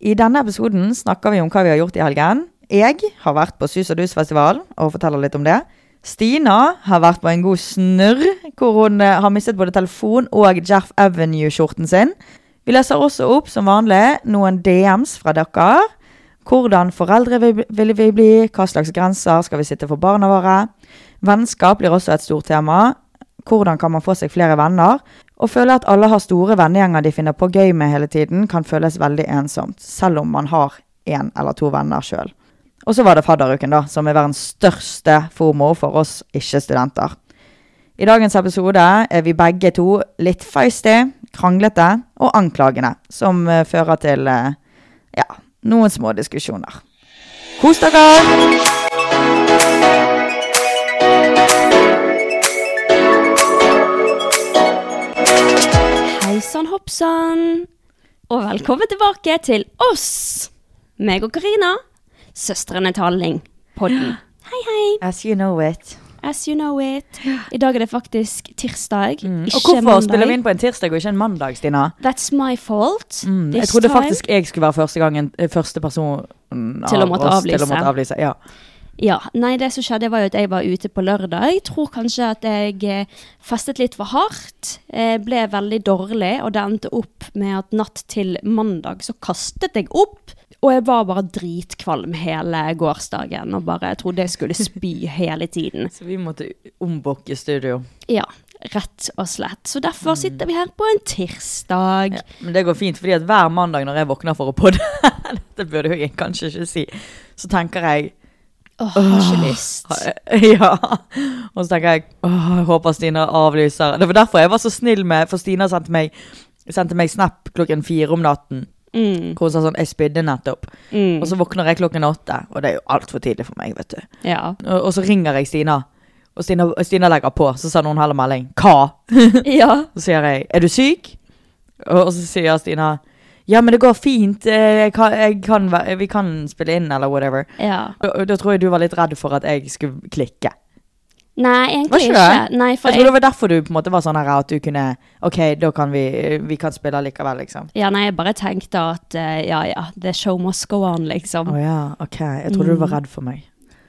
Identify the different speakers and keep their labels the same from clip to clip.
Speaker 1: I denne episoden snakker vi om hva vi har gjort i helgen. Jeg har vært på Sus og Dus-festivalen og forteller litt om det. Stina har vært på en god snurr, hvor hun eh, har mistet både telefon og Jeff Avenue-skjorten sin. Vi leser også opp, som vanlig, noen DMs fra dere. Hvordan foreldre vi- ville vi bli? Hva slags grenser skal vi sitte for barna våre? Vennskap blir også et stort tema. Hvordan kan man få seg flere venner? Å føle at alle har store vennegjenger de finner på gøy med hele tiden, kan føles veldig ensomt, selv om man har én eller to venner sjøl. Og så var det fadderuken, da, som er verdens største fomo for oss ikke-studenter. I dagens episode er vi begge to litt feisty, kranglete og anklagende, som eh, fører til eh, ja, noen små diskusjoner. Kos dere!
Speaker 2: Hei sann, hopp sann, og velkommen tilbake til oss! Meg og Karina, søstrene Talling, podden. Hei, hei,
Speaker 1: As you know it.
Speaker 2: as you know it. I dag er det faktisk tirsdag,
Speaker 1: Mm. Og
Speaker 2: ikke
Speaker 1: hvorfor
Speaker 2: mandag.
Speaker 1: spiller vi inn på en tirsdag og ikke en mandag, Stina?
Speaker 2: That's my fault.
Speaker 1: Mm, Jeg
Speaker 2: This
Speaker 1: trodde
Speaker 2: time.
Speaker 1: faktisk jeg skulle være første, gangen, eh, første person mm,
Speaker 2: Til å
Speaker 1: av
Speaker 2: måtte
Speaker 1: oss til å
Speaker 2: avlyse.
Speaker 1: måtte avlyse. Ja.
Speaker 2: Ja, nei, det som skjedde var jo at jeg var ute på lørdag. Jeg tror kanskje at jeg eh, festet litt for hardt. eh, Ble veldig dårlig, og det endte opp med at natt til mandag så kastet jeg opp. Og jeg var bare dritkvalm hele gårsdagen og bare trodde jeg skulle spy hele tiden.
Speaker 1: Så vi måtte ombukke studio.
Speaker 2: Ja, rett og slett. Så derfor sitter vi her på en tirsdag.
Speaker 1: Men det går fint, fordi at hver mandag når jeg våkner for å podde Dette burde jeg kanskje ikke si. Så tenker jeg
Speaker 2: Åh, har ikke lyst.
Speaker 1: Ja. Og så tenker jeg åh, jeg håper Stina avlyser. Det var derfor jeg var så snill med For Stina sendte meg, sendte meg snap klokken fire om natten.
Speaker 2: Mm,
Speaker 1: Hvor hun sa sånn 'Jeg spydde nettopp'.
Speaker 2: mm,
Speaker 1: Og så våkner jeg klokken åtte. Og det er jo altfor tidlig for meg, vet du.
Speaker 2: ja.
Speaker 1: Og, og så ringer jeg Stina. Og Stina, og Stina legger på. Så sender hun heller melding. Hva?
Speaker 2: ja.
Speaker 1: Så sier jeg, er du syk? Og og så sier Stina, ja, men det går fint. eh, Jeg kan, jeg kan, væ- vi kan spille inn, eller whatever.
Speaker 2: Ja.
Speaker 1: Og- og Da tror jeg du var litt redd for at jeg skulle klikke.
Speaker 2: Nei, egentlig
Speaker 1: ikke
Speaker 2: ikke.
Speaker 1: det?
Speaker 2: Nei, for
Speaker 1: jeg tror det var derfor du på en måte var sånn her at du kunne, ok, da kan vi, vi kan spille likevel, liksom.
Speaker 2: Ja, nei, jeg bare tenkte at eh, ja, ja, the show must go on, liksom.
Speaker 1: Å ja, ok. Jeg trodde du var redd for meg.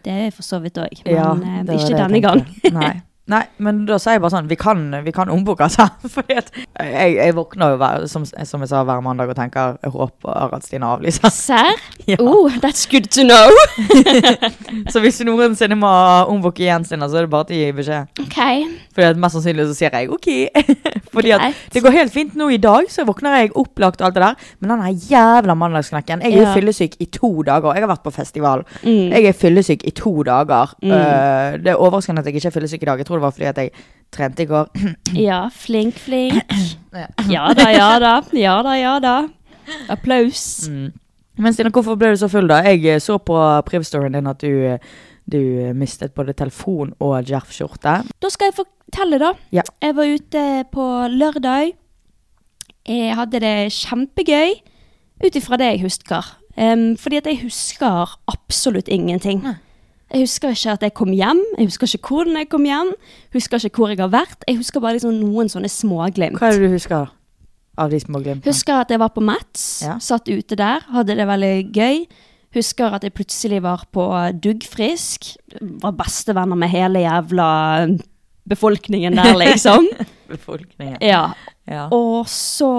Speaker 2: Det er jeg for så vidt òg, men
Speaker 1: Ja,
Speaker 2: eh,
Speaker 1: det var
Speaker 2: ikke
Speaker 1: det jeg
Speaker 2: denne gang.
Speaker 1: tenkte. Nei. Nei, men da sier jeg bare sånn, vi kan, vi kan omboke, altså. Fordi at jeg, jeg våkner jo, hver, som, som jeg sa, hver mandag og tenker, jeg håper at Stina avlyser.
Speaker 2: Serr?
Speaker 1: Ja.
Speaker 2: Oh, that's good to know.
Speaker 1: Så hvis noensinne må ombukke igjen Stina, så er det bare til å gi beskjed.
Speaker 2: Ok,
Speaker 1: Fordi at mest sannsynlig så sier jeg ok. Fordi at
Speaker 2: Greit.
Speaker 1: det går helt fint nå i dag, så våkner jeg opplagt og alt det der. Men den her jævla mandagsknekken. Jeg er jo
Speaker 2: Ja. Mm.
Speaker 1: fyllesyk i to dager. Jeg har vært på festival. Jeg er fyllesyk i to dager. Øh, det er overraskende at jeg ikke er fyllesyk i dag. Jeg tror det var fordi at jeg trente i går.
Speaker 2: Ja, flink, flink. Ja da, ja da. Ja da, ja da. Applaus.
Speaker 1: Men Stina, hvorfor ble du så full, da? Jeg eh, så på Priv-storyen din at du, eh, du eh, mistet både telefon og Jerf-skjorte.
Speaker 2: Da skal jeg fortelle, da.
Speaker 1: Ja.
Speaker 2: Jeg var ute på lørdag. Jeg hadde det kjempegøy ut ifra det jeg husker. Em, fordi at jeg husker absolutt ingenting. Jeg husker ikke at jeg kom hjem, jeg husker ikke hvordan jeg kom hjem, husker ikke hvor jeg har vært. Jeg husker bare liksom noen sånne småglimt.
Speaker 1: Hva er det du husker av de små glimtene?
Speaker 2: Husker at jeg var på Mats,
Speaker 1: Ja.
Speaker 2: satt ute der, hadde det veldig gøy. Husker at jeg plutselig var på Duggfrisk. Var bestevenner med hele jævla um, befolkningen der, liksom.
Speaker 1: Befolkningen.
Speaker 2: ja.
Speaker 1: Ja.
Speaker 2: Og så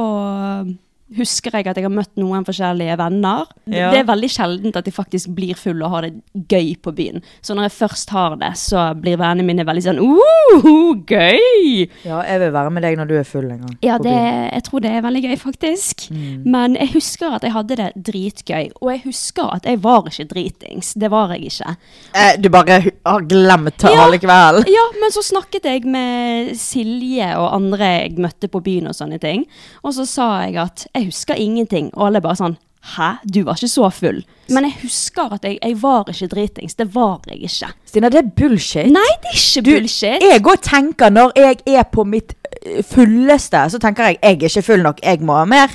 Speaker 2: husker jeg at jeg har møtt noen forskjellige venner.
Speaker 1: Ja.
Speaker 2: Det er veldig sjeldent at jeg faktisk blir full og har det gøy på byen. Så når jeg først har det, så blir vennene mine veldig sånn uh, gøy!
Speaker 1: ja, jeg vil være med deg når du er full en gang.
Speaker 2: Ja,
Speaker 1: på
Speaker 2: det,
Speaker 1: byen. Mm.
Speaker 2: jeg tror det er veldig gøy, faktisk. Men jeg husker at jeg hadde det dritgøy. Og jeg husker at jeg var ikke dritings. Det var jeg ikke.
Speaker 1: eh, Du bare hu- har glemt det
Speaker 2: Ja.
Speaker 1: alle kveld.
Speaker 2: Ja, men så snakket jeg med Silje og andre jeg møtte på byen og sånne ting. Og så sa jeg at jeg husker ingenting. Og alle bare sånn Hæ, du var ikke så full? Men jeg husker at jeg, jeg var ikke dritings. Det var jeg ikke.
Speaker 1: Stina, det er bullshit.
Speaker 2: Nei, det er ikke bullshit.
Speaker 1: Jeg òg tenker når jeg er på mitt eh, fulleste, så tenker jeg jeg er ikke full nok, jeg må ha mer.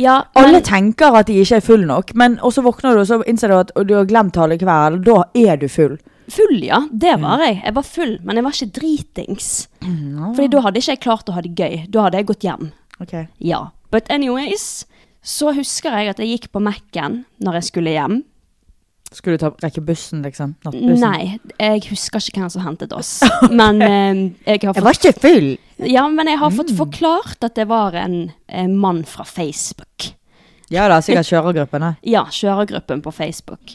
Speaker 2: Ja,
Speaker 1: Alle
Speaker 2: men-
Speaker 1: tenker at de ikke er full nok, men og så våkner du og så innser du at du har glemt halve kvelden. Da er du full.
Speaker 2: Full, ja. Det
Speaker 1: Mm.
Speaker 2: var jeg. Jeg var full, men jeg var ikke dritings.
Speaker 1: Mm,
Speaker 2: Fordi da hadde ikke jeg klart å ha det gøy. Da hadde jeg gått hjem.
Speaker 1: Okay.
Speaker 2: Ja. But anyways, så husker jeg at jeg gikk på Mac-en når jeg skulle hjem.
Speaker 1: Skulle du ta, rekke bussen, liksom? Nattbussen?
Speaker 2: Nei, jeg husker ikke hvem som hentet oss. Men eh, jeg
Speaker 1: Jeg
Speaker 2: har fått,
Speaker 1: var ikke Mm. full.
Speaker 2: ja, men jeg har fått forklart at det var en eh, mann fra Facebook.
Speaker 1: Ja da, sikkert kjørergruppene.
Speaker 2: Ja, kjørergruppen på Facebook.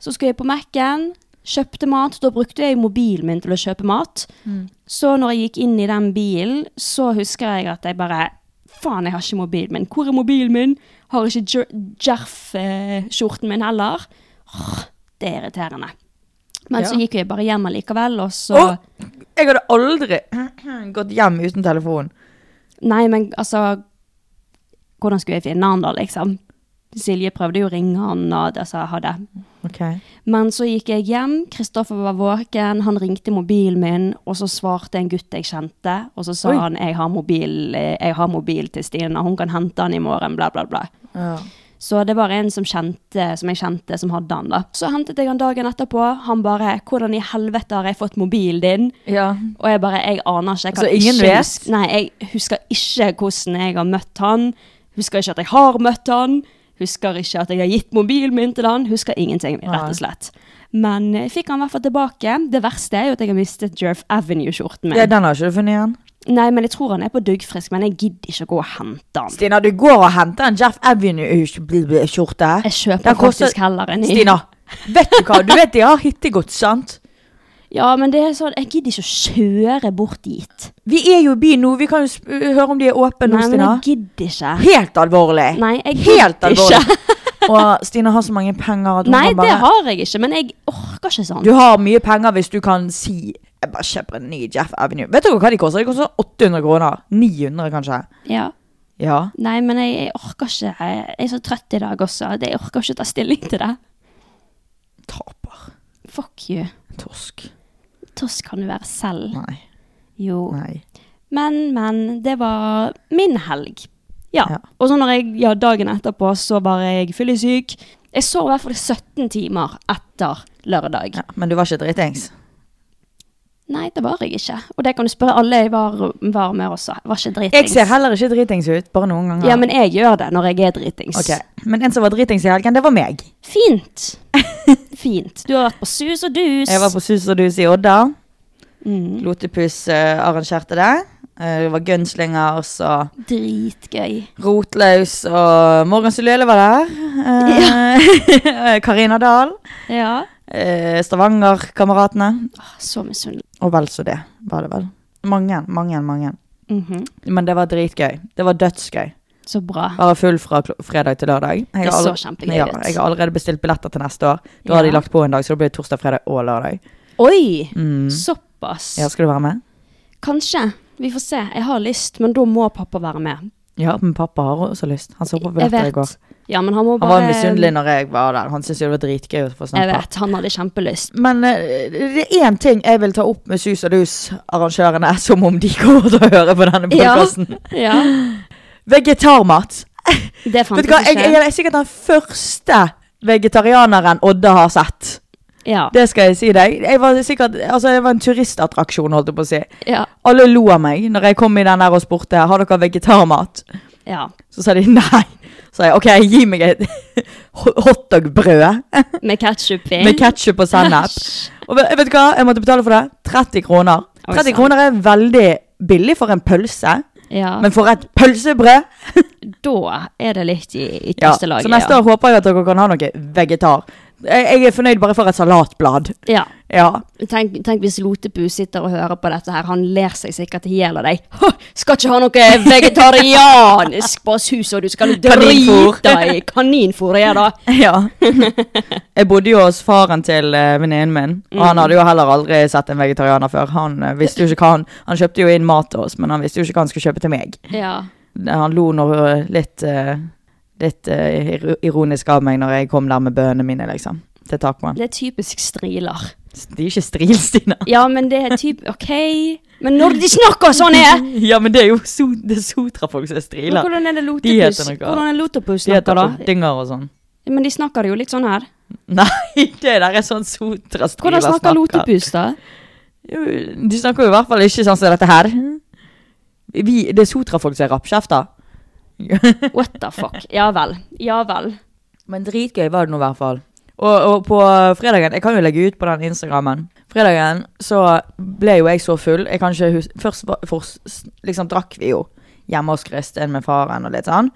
Speaker 2: Så skulle jeg på Mac-en, kjøpte mat. Da brukte jeg mobilen min til å kjøpe mat.
Speaker 1: Mm.
Speaker 2: Så når jeg gikk inn i den bilen, så husker jeg at jeg bare Faen, jeg har ikke mobilen min. Hvor er mobilen min? Har ikke Jerf-skjorten min heller. Åh, Det er irriterende. Men så
Speaker 1: Ja.
Speaker 2: gikk jeg bare hjem allikevel, og så
Speaker 1: Åh! Jeg hadde aldri gått hjem uten telefon.
Speaker 2: Nei, men altså Hvordan skulle jeg finne han da, liksom? Silje prøvde jo å ringe han, og altså, ha det.
Speaker 1: Ok.
Speaker 2: Men så gikk jeg hjem, Kristoffer var våken, han ringte mobilen min, og så svarte en gutt jeg kjente, og så sa
Speaker 1: Oi.
Speaker 2: han jeg har, mobil, eh, 'jeg har mobil til Stina, hun kan hente han i morgen', bla, bla, bla.
Speaker 1: Ja.
Speaker 2: Så det var en som, kjente, som jeg kjente, som hadde han, da. Så hentet jeg han dagen etterpå, han bare 'Hvordan i helvete har jeg fått mobilen din?' Og jeg bare, jeg aner ikke. Jeg kan
Speaker 1: Så Altså, ingen
Speaker 2: ikke
Speaker 1: vet?
Speaker 2: huske- Nei, jeg husker ikke hvordan jeg har møtt han. Husker ikke at jeg har møtt han. Husker ikke at jeg har gitt mobilen min til han. Husker ingenting, rett og slett. Men jeg fikk han i hvert fall tilbake. Det verste er jo at jeg har mistet Jerf Avenue-skjorten min.
Speaker 1: ja, Den har ikke du funnet igjen?
Speaker 2: Nei, men jeg tror han er på duggfrisk, men jeg gidder ikke å gå og hente han.
Speaker 1: Stina, du går og henter en Jeff Avenue-skjorte.
Speaker 2: Jeg kjøper
Speaker 1: Den koster-
Speaker 2: faktisk heller en ny.
Speaker 1: Stina, vet du hva? Du vet de har hittegods, sant?
Speaker 2: Ja, men det er sånn, jeg gidder ikke å kjøre bort dit.
Speaker 1: Vi er jo i byen nå, vi kan jo sp- høre om de er åpne nå,
Speaker 2: Nei, men
Speaker 1: Stina.
Speaker 2: jeg gidder ikke.
Speaker 1: Helt alvorlig.
Speaker 2: Nei, jeg
Speaker 1: Helt
Speaker 2: gidder
Speaker 1: alvorlig.
Speaker 2: ikke.
Speaker 1: og Stina har så mange penger at hun
Speaker 2: Nei,
Speaker 1: kan bare
Speaker 2: det har jeg ikke, men jeg orker ikke sånn.
Speaker 1: Du har mye penger hvis du kan si Jeg bare kjøper en ny Jeff Avenue. Vet dere hva de koster? De koster 800 kroner. 900 kanskje.
Speaker 2: Ja.
Speaker 1: Ja.
Speaker 2: Nei, men jeg, jeg orker ikke. Jeg er så trøtt i dag også. at Jeg orker ikke å ta stilling til det.
Speaker 1: Taper.
Speaker 2: Fuck you.
Speaker 1: Torsk.
Speaker 2: Tosk kan du være selv.
Speaker 1: Nei.
Speaker 2: Jo.
Speaker 1: Nei.
Speaker 2: Men, men. Det var min helg. Ja.
Speaker 1: Ja.
Speaker 2: Og så når jeg, ja, dagen etterpå så var jeg fyllesyk. Jeg sov i hvert fall 17 timer etter lørdag.
Speaker 1: Ja, men du var ikke dritings?
Speaker 2: Nei, det var jeg ikke. Og det kan du spørre alle jeg var, var med også. Jeg var ikke
Speaker 1: Jeg
Speaker 2: dritings.
Speaker 1: ser heller ikke dritings ut. Bare noen ganger.
Speaker 2: Ja, men jeg gjør det når jeg er dritings.
Speaker 1: Ok. men en som var dritings i helgen, det var meg.
Speaker 2: Fint. Fint. Du har vært på sus og dus.
Speaker 1: Jeg var på Sus og Dus i Odda.
Speaker 2: mm.
Speaker 1: Lotepus eh, arrangerte det. Eh, det var gunslingers og
Speaker 2: Dritgøy.
Speaker 1: Rotlaus og Morgan Sulele var der. Eh, Karina Dahl.
Speaker 2: Ja.
Speaker 1: Eh, Stavanger-kameratene.
Speaker 2: Ah, Så misunnelig.
Speaker 1: Og vel så det, var det vel. Mange, mange, mange. Men det var dritgøy. Det var dødsgøy.
Speaker 2: Mhm. Så bra.
Speaker 1: Være full fra kl- fredag til lørdag. Jeg
Speaker 2: Det
Speaker 1: har
Speaker 2: så
Speaker 1: allerede-
Speaker 2: kjempegøy
Speaker 1: ja,
Speaker 2: ut.
Speaker 1: Jeg har allerede bestilt billetter til neste år. Da
Speaker 2: Ja.
Speaker 1: har de lagt på en dag, så det blir torsdag, fredag og lørdag.
Speaker 2: Oi!
Speaker 1: Mm.
Speaker 2: Såpass.
Speaker 1: Ja, skal du være med?
Speaker 2: Kanskje. Vi får se. Jeg har lyst, men da må pappa være med.
Speaker 1: Ja, men pappa har også lyst. Han så på billetter i går.
Speaker 2: Ja, men han må
Speaker 1: Han
Speaker 2: bare
Speaker 1: var misunnelig når jeg var der. Han syntes jo det var dritgøy å få
Speaker 2: Jeg
Speaker 1: snakke.
Speaker 2: vet, han hadde kjempelyst.
Speaker 1: Men eh, det er én ting jeg vil ta opp med Sus og Dus-arrangørene, som om de kommer til å høre på denne
Speaker 2: Ja.
Speaker 1: podkasten.
Speaker 2: Ja.
Speaker 1: Vegetarmat.
Speaker 2: Det
Speaker 1: Vet
Speaker 2: fantes
Speaker 1: du hva, jeg,
Speaker 2: ikke.
Speaker 1: jeg er sikkert den første vegetarianeren Odda har sett.
Speaker 2: ja.
Speaker 1: Det skal jeg si deg. Jeg var sikkert, altså jeg var en turistattraksjon, holdt jeg på å si.
Speaker 2: ja.
Speaker 1: Alle lo av meg når jeg kom i den der og spurte har dere vegetarmat.
Speaker 2: ja.
Speaker 1: Så sa de nei. Så sa jeg ok, gi meg et hotdog-brød
Speaker 2: Med ketsjup i.
Speaker 1: med ketsjup og sennep.
Speaker 2: Eh? Æsj.
Speaker 1: Og vet vet du hva, jeg måtte betale for det. 30 kroner.
Speaker 2: Oi,
Speaker 1: 30
Speaker 2: sant.
Speaker 1: kroner er veldig billig for en pølse,
Speaker 2: Ja.
Speaker 1: men for et pølsebrød
Speaker 2: da er det litt i
Speaker 1: ja.
Speaker 2: ytterste laget.
Speaker 1: Så neste år håper jeg at dere kan ha noe vegetar. Jeg, jeg er fornøyd bare for et salatblad.
Speaker 2: ja. ja.
Speaker 1: Ja.
Speaker 2: Tenk, tenk hvis Lotepus sitter og hører på dette her, han ler seg sikkert i hjel av deg. «Hå, Skal ikke ha noe vegetarianisk på sus, og du skal
Speaker 1: Kaninfôr.
Speaker 2: drite deg i kaninfôret, ja da.
Speaker 1: Ja. Jeg bodde jo hos faren til eh, venninnen min, og
Speaker 2: Mm.
Speaker 1: han hadde jo heller aldri sett en vegetarianer før. Han eh, visste jo ikke hva han Han kjøpte jo inn mat til oss, men han visste jo ikke hva han skulle kjøpe til meg.
Speaker 2: Ja.
Speaker 1: Han lo nå eh, litt eh, Litt eh, ir- ironisk av meg når jeg kom der med bønnene mine, liksom. Til tacoen.
Speaker 2: Det er typisk striler.
Speaker 1: De er ikke strilstine.
Speaker 2: Ja, men det er typ OK. Men når de snakker sånn er
Speaker 1: Ja, men det er jo so det er sotrafolk som er
Speaker 2: Men
Speaker 1: striler.
Speaker 2: Hvordan er det
Speaker 1: De
Speaker 2: Lotepus?
Speaker 1: heter noe.
Speaker 2: Hvordan er Lotepus
Speaker 1: De heter
Speaker 2: snakker, da?
Speaker 1: dynger og sånn.
Speaker 2: Men de snakker jo litt sånn her.
Speaker 1: Nei, det der er sånn sotrastriler snakker.
Speaker 2: Hvordan snakker Lotepus, da?
Speaker 1: Jo, De snakker jo i hvert fall ikke sånn som dette her. Vi, det er Sotra-folk som er rappkjefter.
Speaker 2: What the fuck? Ja vel. Ja vel.
Speaker 1: Men dritgøy var det nå i hvert fall. Og, og på fredagen Jeg kan jo legge ut på den Instagrammen. Fredagen så ble jo jeg så full. Jeg kan ikke hus Først var- fors- liksom drakk vi jo hjemme hos Kristin med faren og litt sånn.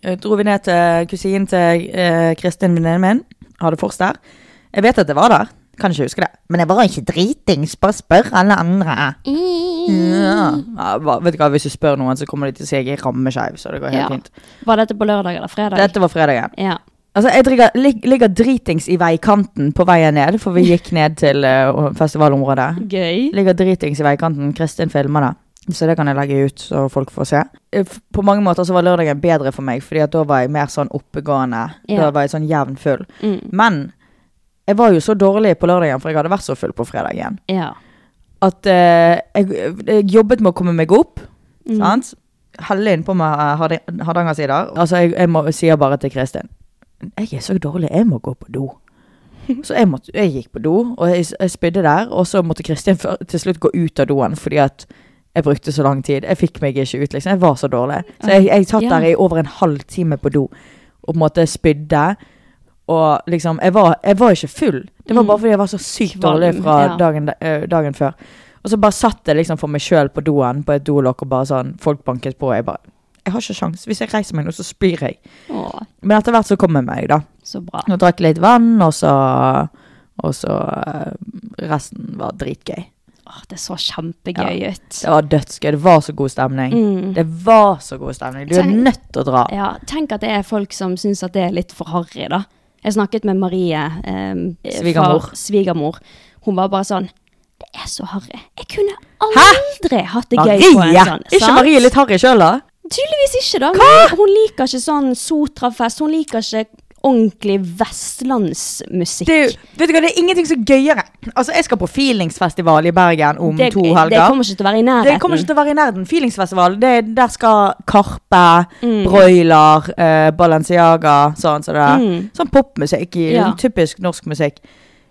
Speaker 1: Eh, Dro vi ned til kusinen til eh, Kristin, venninnen min. Hadde fors der. Jeg vet at det var der. Kan ikke huske det. Men jeg var ikke dritings. Bare spør alle andre.
Speaker 2: Mm.
Speaker 1: Ja. Ja, hva- vet du hva, Hvis du spør noen, så kommer de til å si jeg er rammeskeiv. Så det går helt
Speaker 2: Ja.
Speaker 1: fint.
Speaker 2: Var dette på lørdag eller fredag?
Speaker 1: Dette var fredagen.
Speaker 2: Ja.
Speaker 1: Altså, jeg ligger, lig, ligger dritings i veikanten på veien ned, for vi gikk ned til eh, festivalområdet.
Speaker 2: Gøy.
Speaker 1: Ligger dritings i veikanten. Kristin filmer det. Så det kan jeg legge ut, så folk får se. Eh, f- På mange måter så var lørdagen bedre for meg, Fordi at da var jeg mer sånn oppegående. Da
Speaker 2: Ja.
Speaker 1: var jeg sånn jevn full.
Speaker 2: Mm.
Speaker 1: Men jeg var jo så dårlig på lørdagen, for jeg hadde vært så full på fredagen,
Speaker 2: Ja.
Speaker 1: at eh, jeg, jeg jobbet med å komme meg opp.
Speaker 2: Mm.
Speaker 1: Sant? Helle innpå med eh, Hard- Hardangersider. Altså, jeg, jeg må, sier bare til Kristin Jeg er så dårlig, jeg må gå på do. Så jeg, måtte, jeg gikk på do, og jeg, jeg spydde der. Og så måtte Kristin før- til slutt gå ut av doen fordi at jeg brukte så lang tid. Jeg fikk meg ikke ut, liksom. Jeg var så dårlig. Så jeg, jeg satt
Speaker 2: Ja.
Speaker 1: der i over en halv time på do og på en måte spydde. Og liksom Jeg var, jeg var ikke full. Det var bare fordi jeg var så sykt
Speaker 2: Mm. Kvalm,
Speaker 1: dårlig fra
Speaker 2: ja.
Speaker 1: dagen, eh, dagen før. Og så bare satt jeg liksom for meg sjøl på doen på et dolokk og bare sånn Folk banket på, og jeg bare Jeg har ikke sjans. Hvis jeg reiser meg nå, så spyr jeg.
Speaker 2: Å,
Speaker 1: Men etter hvert så kom jeg meg, da.
Speaker 2: så bra.
Speaker 1: Og drakk litt vann, og så Og så eh, Resten var dritgøy.
Speaker 2: Åh, det så kjempegøy ut.
Speaker 1: Det var dødsgøy. Det var så god stemning. Det var så god stemning. Du er
Speaker 2: Mm. Tenk-
Speaker 1: nødt til å dra.
Speaker 2: Ja, tenk at det er folk som syns at det er litt for harry, da. Jeg snakket med Marie, eh,
Speaker 1: Svigermor.
Speaker 2: fra svigermor. Hun var bare sånn Det er så harry. Jeg kunne aldri hatt det gøy på en
Speaker 1: Marie!
Speaker 2: sånn.
Speaker 1: ikke
Speaker 2: sant?
Speaker 1: Marie litt harry sjøl, da?
Speaker 2: Tydeligvis ikke, da. Men hun liker ikke sånn Sotrafest. Hun liker ikke ordentlig vestlandsmusikk.
Speaker 1: Det er, jo- vet du hva, det er ingenting så gøyere. Altså, Jeg skal på feelingsfestival i Bergen om
Speaker 2: Det-
Speaker 1: to helger.
Speaker 2: Det kommer ikke til å være i nærheten.
Speaker 1: Det kommer ikke til å være i nærheten. Feelingsfestival, det, der skal Karpe,
Speaker 2: Mm.
Speaker 1: Broiler, eh, Balenciaga, sånn som det der. Sånn popmusikk. i-
Speaker 2: Mm. Ja.
Speaker 1: Typisk norsk musikk.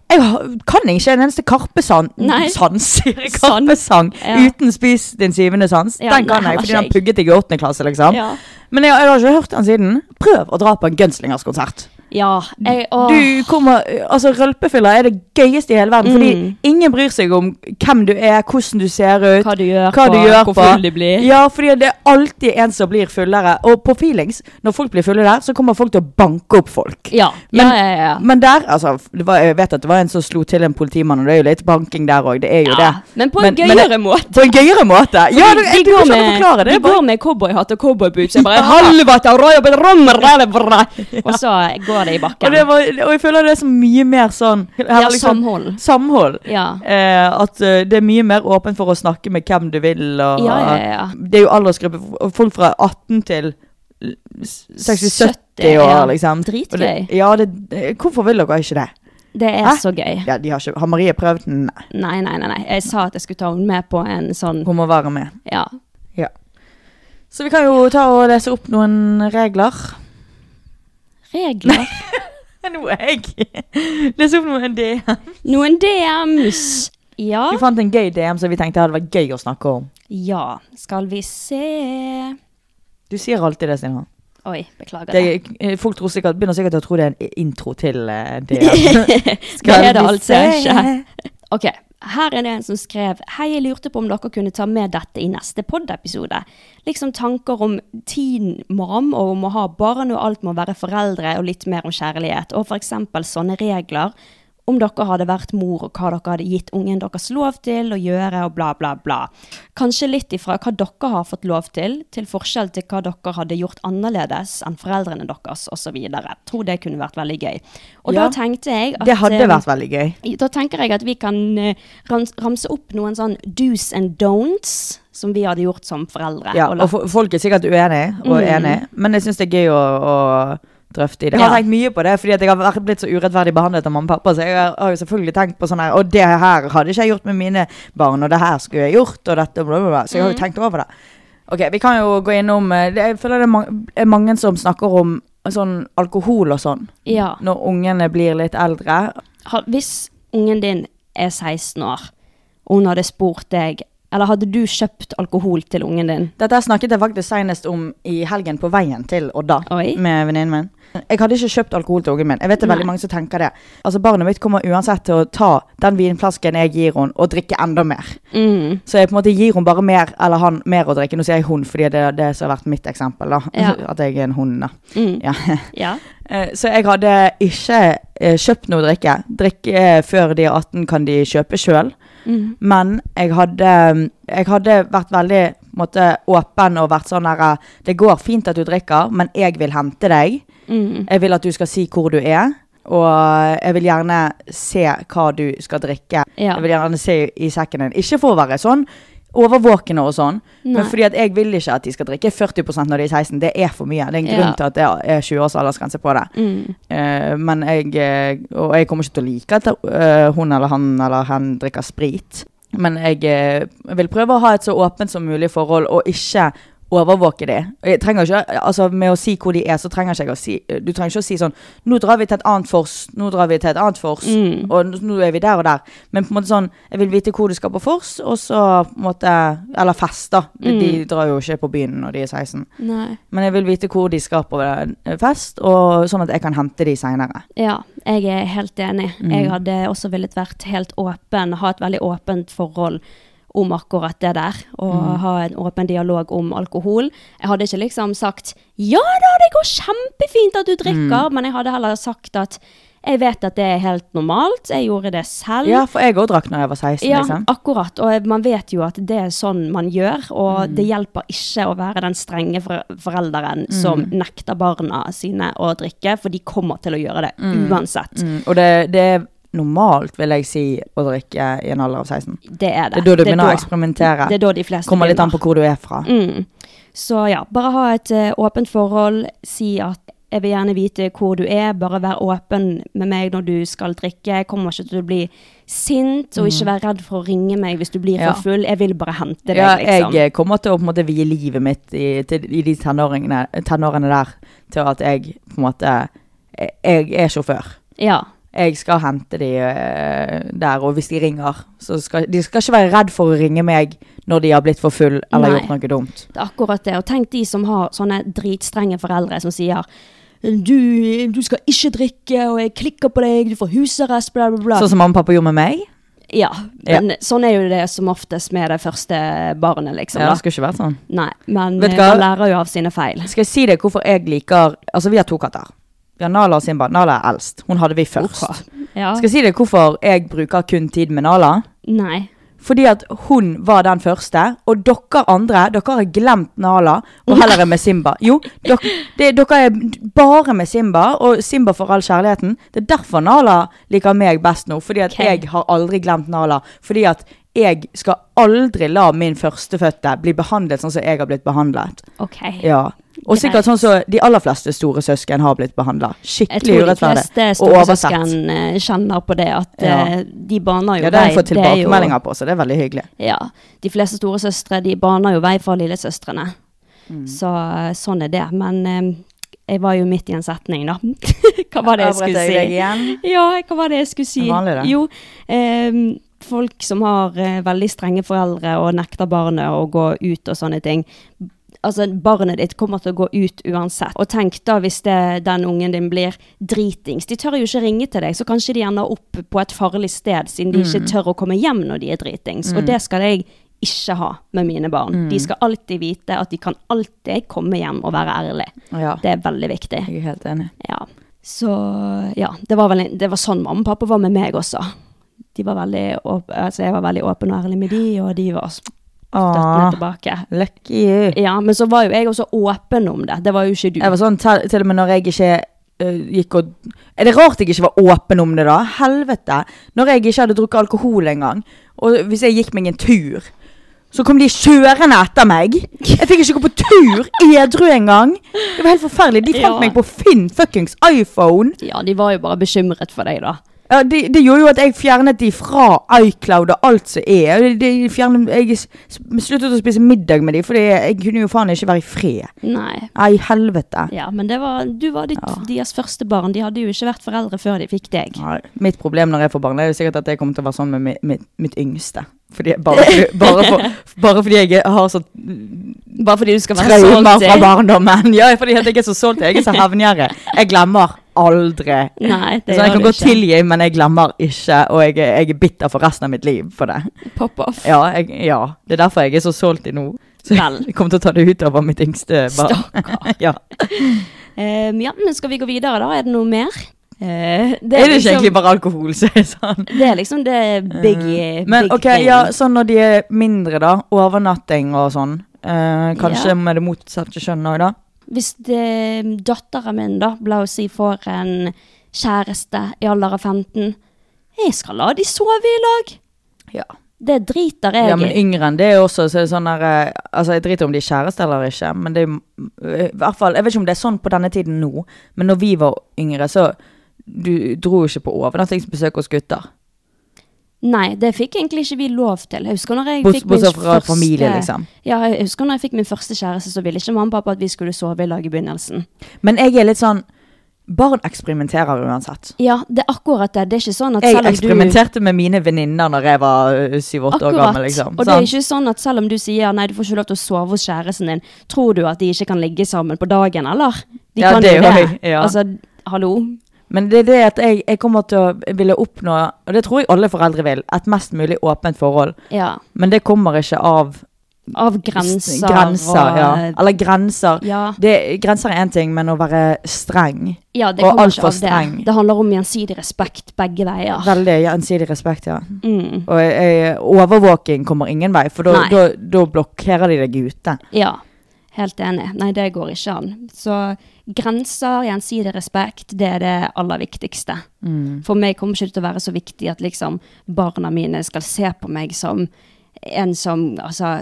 Speaker 1: Jeg har- kan ikke en eneste Karpe-sans
Speaker 2: Nei.
Speaker 1: sans.
Speaker 2: Sans.
Speaker 1: Karpe-sang
Speaker 2: Ja.
Speaker 1: uten 'Spis din syvende sans'.
Speaker 2: Ja,
Speaker 1: den kan
Speaker 2: nei,
Speaker 1: jeg, fordi den
Speaker 2: heller ikke
Speaker 1: pugget jeg i åttende klasse, liksom.
Speaker 2: Ja.
Speaker 1: Men jeg, jeg har ikke hørt den siden. Prøv å dra på en Gunslingers konsert.
Speaker 2: Ja, jeg, åh.
Speaker 1: Du kommer, altså Rølpefyller er det gøyeste i hele verden.
Speaker 2: Mm.
Speaker 1: Fordi ingen bryr seg om hvem du er, hvordan du ser ut,
Speaker 2: Hva du gjør
Speaker 1: hva du
Speaker 2: på,
Speaker 1: gjør
Speaker 2: hvor
Speaker 1: på.
Speaker 2: full de blir.
Speaker 1: Ja, fordi det er alltid en som blir fullere. Og på feelings, når folk blir fulle der, så kommer folk til å banke opp folk.
Speaker 2: Ja,
Speaker 1: Men,
Speaker 2: ja, ja, ja.
Speaker 1: men der, altså det var, Jeg vet at det var en som slo til en politimann, og det er jo litt banking der òg. Det er jo
Speaker 2: Ja,
Speaker 1: det.
Speaker 2: men på en gøyere måte.
Speaker 1: På en gøyere måte. Ja, du, du kan ikke forklare det.
Speaker 2: de
Speaker 1: det. er bare-
Speaker 2: går med cowboyhatt og cowboyboots. Jeg bare
Speaker 1: Ja.
Speaker 2: Halvata, røyobet, rommer, røyobra. Og så går det i
Speaker 1: Og,
Speaker 2: bakken.
Speaker 1: det var, og jeg føler det er så mye mer sånn her er
Speaker 2: Ja, samhold.
Speaker 1: Samhold.
Speaker 2: Ja.
Speaker 1: Eh, at eh, det er mye mer åpent for å snakke med hvem du vil. Og,
Speaker 2: Ja, ja, ja.
Speaker 1: Det er jo aldersgruppe og folk fra 18 til 60-70
Speaker 2: 70,
Speaker 1: år,
Speaker 2: ja.
Speaker 1: liksom.
Speaker 2: Dritgøy.
Speaker 1: Og det- Ja, det, det- hvorfor vil dere ikke det?
Speaker 2: Det er
Speaker 1: Hæ?
Speaker 2: så gøy.
Speaker 1: Ja, de har, ikke, har Marie prøvd den? Nei,
Speaker 2: Nei, nei, nei, nei. Jeg sa at jeg skulle ta henne med på en sånn
Speaker 1: Hun må være med.
Speaker 2: Ja.
Speaker 1: Ja. Så vi kan jo ta og lese opp noen regler.
Speaker 2: Regler.
Speaker 1: Nå er jeg Lese opp noen
Speaker 2: Ah.
Speaker 1: DM.
Speaker 2: Noen DMs. Ja.
Speaker 1: Vi fant en gøy DM som vi tenkte hadde vært gøy å snakke om.
Speaker 2: Ja, skal vi se
Speaker 1: Du sier alltid det, Stina.
Speaker 2: Oi, beklager.
Speaker 1: Det, eh, folk tror sikkert, begynner sikkert å tro det er en intro til eh, DM. Skal
Speaker 2: det er det
Speaker 1: vi
Speaker 2: altså
Speaker 1: se?
Speaker 2: ikke. Ok, her er det en som skrev Hei, jeg lurte på om dere kunne ta med dette i neste poddepisode. Liksom tanker om teen mom og om å ha barn og alt med å være foreldre og litt mer om kjærlighet. Og for eksempel sånne regler om dere hadde vært mor og hva dere hadde gitt ungen deres lov til å gjøre og bla bla bla. Kanskje litt ifra hva dere har fått lov til, til forskjell til hva dere hadde gjort annerledes enn foreldrene deres osv. Tror det kunne vært veldig gøy. Og
Speaker 1: Ja.
Speaker 2: da tenkte jeg at
Speaker 1: Det hadde
Speaker 2: eh,
Speaker 1: vært veldig gøy.
Speaker 2: da tenker jeg at vi kan eh, rams, ramse opp noen sånn do's and don'ts som vi hadde gjort som foreldre.
Speaker 1: Ja,
Speaker 2: la-
Speaker 1: og Mhm. fo- folk er sikkert uenige og enige, men jeg syns det er gøy å, å drøfte i det. Jeg har
Speaker 2: Ja.
Speaker 1: tenkt mye på det, fordi at jeg har vært- blitt så urettferdig behandlet av mamma og pappa. Så jeg har har jo selvfølgelig tenkt på sånn her Og det her hadde ikke jeg gjort med mine barn, og det her skulle jeg gjort, og dette og bla, bla, bla. Så jeg har jo tenkt over det. Ok, Vi kan jo gå innom eh, det- Jeg føler det er mang- er mange som snakker om sånn alkohol og sånn
Speaker 2: ja.
Speaker 1: når ungene blir litt eldre.
Speaker 2: Ha, hvis ungen din er 16 år, og hun hadde spurt deg Eller hadde du kjøpt alkohol til ungen din?
Speaker 1: Dette her snakket jeg faktisk senest om i helgen på veien til Odda
Speaker 2: Oi.
Speaker 1: med venninnen min. Jeg hadde ikke kjøpt alkohol til ungen min. Jeg vet det er veldig mange som tenker det. Altså Barnet mitt kommer uansett til å ta den vinflasken jeg gir henne, og drikke enda mer.
Speaker 2: Mm.
Speaker 1: Så jeg på en måte gir henne bare mer, eller han mer å drikke. Nå sier jeg hun fordi det er det som har vært mitt eksempel. da.
Speaker 2: Ja.
Speaker 1: At jeg er en hund, da.
Speaker 2: Mm.
Speaker 1: Ja.
Speaker 2: Ja.
Speaker 1: Eh, Så jeg hadde ikke eh, kjøpt noe å drikke. Drikke eh, før de er 18 kan de kjøpe sjøl.
Speaker 2: Mm.
Speaker 1: Men jeg hadde, mm, jeg hadde vært veldig på en måte, åpen og vært sånn her Det går fint at du drikker, men jeg vil hente deg.
Speaker 2: Mm.
Speaker 1: Jeg vil at du skal si hvor du er. Og jeg vil gjerne se hva du skal drikke.
Speaker 2: Ja.
Speaker 1: Jeg vil gjerne se i sekken din. Ikke for å være sånn overvåkende og sånn, men
Speaker 2: Nei.
Speaker 1: fordi at jeg vil ikke at de skal drikke 40 når de er 16. Det er for mye. Det er en grunn
Speaker 2: Ja.
Speaker 1: til at det er 20 års aldersgrense på det.
Speaker 2: Mm.
Speaker 1: Eh, men jeg eh, Og jeg kommer ikke til å like at eh, hun eller han eller hen drikker sprit. Men jeg eh, vil prøve å ha et så åpent som mulig forhold, og ikke overvåke de. Og Jeg trenger ikke, altså Med å si hvor de er, så trenger ikke jeg å si Du trenger ikke å si sånn Nå drar vi til et annet fors, nå drar vi til et annet fors,
Speaker 2: Mm.
Speaker 1: og n- nå er vi der og der. Men på en måte sånn Jeg vil vite hvor du skal på fors, og så på en måte Eller fest, da.
Speaker 2: Mm.
Speaker 1: De drar jo ikke på byen når de er 16.
Speaker 2: Nei.
Speaker 1: Men jeg vil vite hvor de skal på eh, fest, og sånn at jeg kan hente de seinere.
Speaker 2: Ja, jeg er helt enig.
Speaker 1: Mm.
Speaker 2: Jeg hadde også villet vært helt åpen, ha et veldig åpent forhold om akkurat det der, og
Speaker 1: Mm.
Speaker 2: ha en åpen dialog om alkohol. Jeg hadde ikke liksom sagt 'ja da, det går kjempefint at du
Speaker 1: Mm.
Speaker 2: drikker', men jeg hadde heller sagt at 'jeg vet at det er helt normalt, jeg gjorde det selv'.
Speaker 1: Ja, for jeg òg drakk når jeg var 16.
Speaker 2: Mm. Ja,
Speaker 1: liksom.
Speaker 2: akkurat. Og man vet jo at det er sånn man gjør, og
Speaker 1: Mm.
Speaker 2: det hjelper ikke å være den strenge for forelderen som
Speaker 1: Mm.
Speaker 2: nekter barna sine å drikke, for de kommer til å gjøre det uansett.
Speaker 1: Mm, og det, det er normalt, vil jeg si, å drikke i en alder av 16.
Speaker 2: Det er
Speaker 1: Det
Speaker 2: det.
Speaker 1: er da du begynner å eksperimentere.
Speaker 2: Det er da de fleste
Speaker 1: Kommer litt an på hvor du er fra.
Speaker 2: Mm. Så ja, bare ha et eh, åpent forhold. Si at jeg vil gjerne vite hvor du er, bare vær åpen med meg når du skal drikke. Jeg kommer ikke til å bli sint, og ikke vær redd for å ringe meg hvis du blir
Speaker 1: Mm. Ja.
Speaker 2: for full. Jeg vil bare hente deg,
Speaker 1: Ja,
Speaker 2: liksom.
Speaker 1: jeg eh, kommer til å på en måte vie livet mitt i, til, i de tenåringene, tenårene der til at jeg på en måte Jeg, jeg er sjåfør.
Speaker 2: Ja.
Speaker 1: Jeg skal hente de eh, der, og hvis de ringer, så skal de skal ikke være redd for å ringe meg når de har blitt for full eller
Speaker 2: Nei.
Speaker 1: gjort noe dumt.
Speaker 2: Det er akkurat det. Og tenk de som har sånne dritstrenge foreldre som sier du, du skal ikke drikke, og jeg klikker på deg, du får husarrest, bla, bla, bla.
Speaker 1: Sånn som mamma og pappa gjorde med meg.
Speaker 2: ja,
Speaker 1: Ja.
Speaker 2: men sånn er jo det som oftest med det første barnet, liksom.
Speaker 1: Ja, det
Speaker 2: da.
Speaker 1: skulle ikke vært sånn.
Speaker 2: Nei, men
Speaker 1: Vet du
Speaker 2: eh,
Speaker 1: hva?
Speaker 2: man lærer jo av sine feil.
Speaker 1: Skal jeg si deg hvorfor jeg liker Altså, vi har to katter. Vi har Nala og Simba. Nala er eldst. Hun hadde vi først.
Speaker 2: Ok. Ja.
Speaker 1: Skal jeg si deg hvorfor jeg bruker kun tid med Nala?
Speaker 2: Nei.
Speaker 1: Fordi at hun var den første, og dere andre dere har glemt Nala og heller er med Simba. Jo, dere, det, dere er bare med Simba, og Simba for all kjærligheten. Det er derfor Nala liker meg best nå, fordi at
Speaker 2: Ok.
Speaker 1: jeg har aldri glemt Nala. Fordi at jeg skal aldri la min førstefødte bli behandlet sånn som jeg har blitt behandlet.
Speaker 2: Ok.
Speaker 1: Ja. Og
Speaker 2: Greit.
Speaker 1: sikkert sånn som de aller fleste store søsken har blitt behandla.
Speaker 2: Jeg
Speaker 1: Skikkelig
Speaker 2: tror de
Speaker 1: urettferdig.
Speaker 2: fleste
Speaker 1: Og oversett.
Speaker 2: storesøsken eh, kjenner på det, at
Speaker 1: Ja.
Speaker 2: eh, de baner jo
Speaker 1: Ja, det har jeg
Speaker 2: vei.
Speaker 1: fått tilbakemeldinger på, så det er veldig hyggelig.
Speaker 2: Ja. De fleste storesøstre de baner jo vei for lillesøstrene.
Speaker 1: Mm.
Speaker 2: Så eh, sånn er det. Men eh, jeg var jo midt i en setning, da. Hva var det jeg
Speaker 1: Avbrøt
Speaker 2: skulle si?
Speaker 1: deg igjen?
Speaker 2: Ja, hva var det jeg skulle si?
Speaker 1: Det er vanlig, det.
Speaker 2: Jo, ehm, folk som har eh, veldig strenge foreldre og nekter barnet å gå ut og sånne ting. Altså, Barnet ditt kommer til å gå ut uansett. Og tenk da hvis det, den ungen din blir dritings. De tør jo ikke ringe til deg, så kanskje de ender opp på et farlig sted siden de
Speaker 1: Mm.
Speaker 2: ikke tør å komme hjem når de er dritings. Og det skal jeg ikke ha med mine barn.
Speaker 1: Mm.
Speaker 2: De skal alltid vite at de kan alltid komme hjem og være ærlig.
Speaker 1: Ja,
Speaker 2: Det er veldig viktig.
Speaker 1: jeg er helt enig.
Speaker 2: Ja. Så ja, det var, vel, en- det var sånn mamma og pappa var med meg også. De var veldig åp altså, jeg var veldig åpen og ærlig med de, og de var
Speaker 1: Ah.
Speaker 2: støttende
Speaker 1: Åh,
Speaker 2: tilbake.
Speaker 1: lucky you.
Speaker 2: Ja, men så var jo jeg også åpen om det. Det var jo ikke du.
Speaker 1: Jeg var sånn til, til og med når jeg ikke eh, gikk og Er det rart jeg ikke var åpen om det, da? Helvete. Når jeg ikke hadde drukket alkohol engang, og hvis jeg gikk meg en tur, så kom de kjørende etter meg. Jeg fikk ikke gå på tur edru engang. Det var helt forferdelig. De fant
Speaker 2: Ja.
Speaker 1: meg på Finn fuckings iPhone.
Speaker 2: Ja, de var jo bare bekymret for deg, da.
Speaker 1: Ja, det, det gjorde jo at jeg fjernet de fra iCloud og alt som er. De, de fjernet, jeg s- sluttet å spise middag med de, for jeg kunne jo faen ikke være i fred.
Speaker 2: Nei.
Speaker 1: Nei, helvete.
Speaker 2: Ja, men det var, du var ditt, deres første barn. De hadde jo ikke vært foreldre før de fikk deg.
Speaker 1: Nei, mitt problem når jeg får barn, det er jo sikkert at jeg kommer til å være sånn med mi- mitt, mitt yngste. Fordi, jeg- bare, fordi- bare, for, bare fordi jeg er- har sånn
Speaker 2: Bare fordi du skal være
Speaker 1: traumer
Speaker 2: solgt eh?
Speaker 1: fra
Speaker 2: til.
Speaker 1: barndommen. Ja, fordi at jeg er så solgt, jeg er så hevngjerrig. Jeg glemmer aldri.
Speaker 2: Nei, det
Speaker 1: så jeg
Speaker 2: gjør
Speaker 1: kan
Speaker 2: du
Speaker 1: godt
Speaker 2: ikke.
Speaker 1: tilgi, men jeg glemmer ikke, og jeg, er- jeg er bitter for resten av mitt liv for det.
Speaker 2: Pop off.
Speaker 1: Ja, jeg, ja. det er derfor jeg er så solgt i nå. Så
Speaker 2: Vel.
Speaker 1: jeg kommer til å ta det utover mitt yngste barn.
Speaker 2: Stakkar.
Speaker 1: Ja.
Speaker 2: Ehm, ja, men skal vi gå videre, da? Er det noe mer? Eh,
Speaker 1: Det er, det ikke
Speaker 2: liksom-
Speaker 1: egentlig bare alkohol som er sånn?
Speaker 2: Det er liksom det biggie
Speaker 1: Mm. Men
Speaker 2: big
Speaker 1: ok,
Speaker 2: thing.
Speaker 1: ja, sånn når de er mindre da, overnatting og sånn, eh, kanskje
Speaker 2: Ja.
Speaker 1: med det motsatte kjønn også da?
Speaker 2: Hvis det, mm, datteren min, da, la oss si, får en kjæreste i alder av 15 Jeg skal la de sove i lag!
Speaker 1: Ja.
Speaker 2: Det driter jeg i.
Speaker 1: Ja, men yngre enn det er også, så er det sånn der, eh, altså jeg driter om de er kjæreste eller ikke, men det er jo, eh, i hvert fall, jeg vet ikke om det er sånn på denne tiden nå, men når vi var yngre, så du dro jo ikke på overnattingsbesøk hos gutter.
Speaker 2: Nei, det fikk egentlig ikke vi lov til. Jeg husker når jeg
Speaker 1: Bort-
Speaker 2: fikk min
Speaker 1: Bortsett fra
Speaker 2: første
Speaker 1: familie, liksom.
Speaker 2: Ja, jeg husker når jeg fikk min første kjæreste, så ville ikke mamma og pappa at vi skulle sove i lag i begynnelsen.
Speaker 1: Men jeg er litt sånn, barn eksperimenterer uansett.
Speaker 2: Ja, det er akkurat det. Det er ikke sånn at
Speaker 1: Jeg
Speaker 2: selv om du
Speaker 1: eksperimenterte med mine venninner når jeg var 7-8 år gammel, liksom.
Speaker 2: Og det er
Speaker 1: sant?
Speaker 2: ikke sånn at selv om du sier nei, du får ikke lov til å sove hos kjæresten din, tror du at de ikke kan ligge sammen på dagen, eller? De
Speaker 1: Ja,
Speaker 2: kan
Speaker 1: det
Speaker 2: jo
Speaker 1: gjør
Speaker 2: det.
Speaker 1: jeg, ja.
Speaker 2: Altså, hallo?
Speaker 1: Men det er det at jeg, jeg kommer til å ville oppnå, og det tror jeg alle foreldre vil, et mest mulig åpent forhold.
Speaker 2: Ja.
Speaker 1: Men det kommer ikke av
Speaker 2: Av grenser,
Speaker 1: grenser
Speaker 2: og
Speaker 1: ja. Eller grenser.
Speaker 2: Ja.
Speaker 1: Det, grenser er én ting, men å være streng
Speaker 2: Ja, det
Speaker 1: Og
Speaker 2: kommer
Speaker 1: alt
Speaker 2: ikke
Speaker 1: for
Speaker 2: av
Speaker 1: streng.
Speaker 2: det. Det handler om gjensidig respekt begge veier.
Speaker 1: Veldig gjensidig respekt, ja.
Speaker 2: Mm.
Speaker 1: Og eh, overvåking kommer ingen vei, for da-
Speaker 2: Nei.
Speaker 1: da da blokkerer de deg ute.
Speaker 2: Ja, helt enig. Nei, det går ikke an. Så grenser, gjensidig respekt, det er det aller viktigste.
Speaker 1: Mm.
Speaker 2: For meg kommer ikke det til å være så viktig at liksom barna mine skal se på meg som en som altså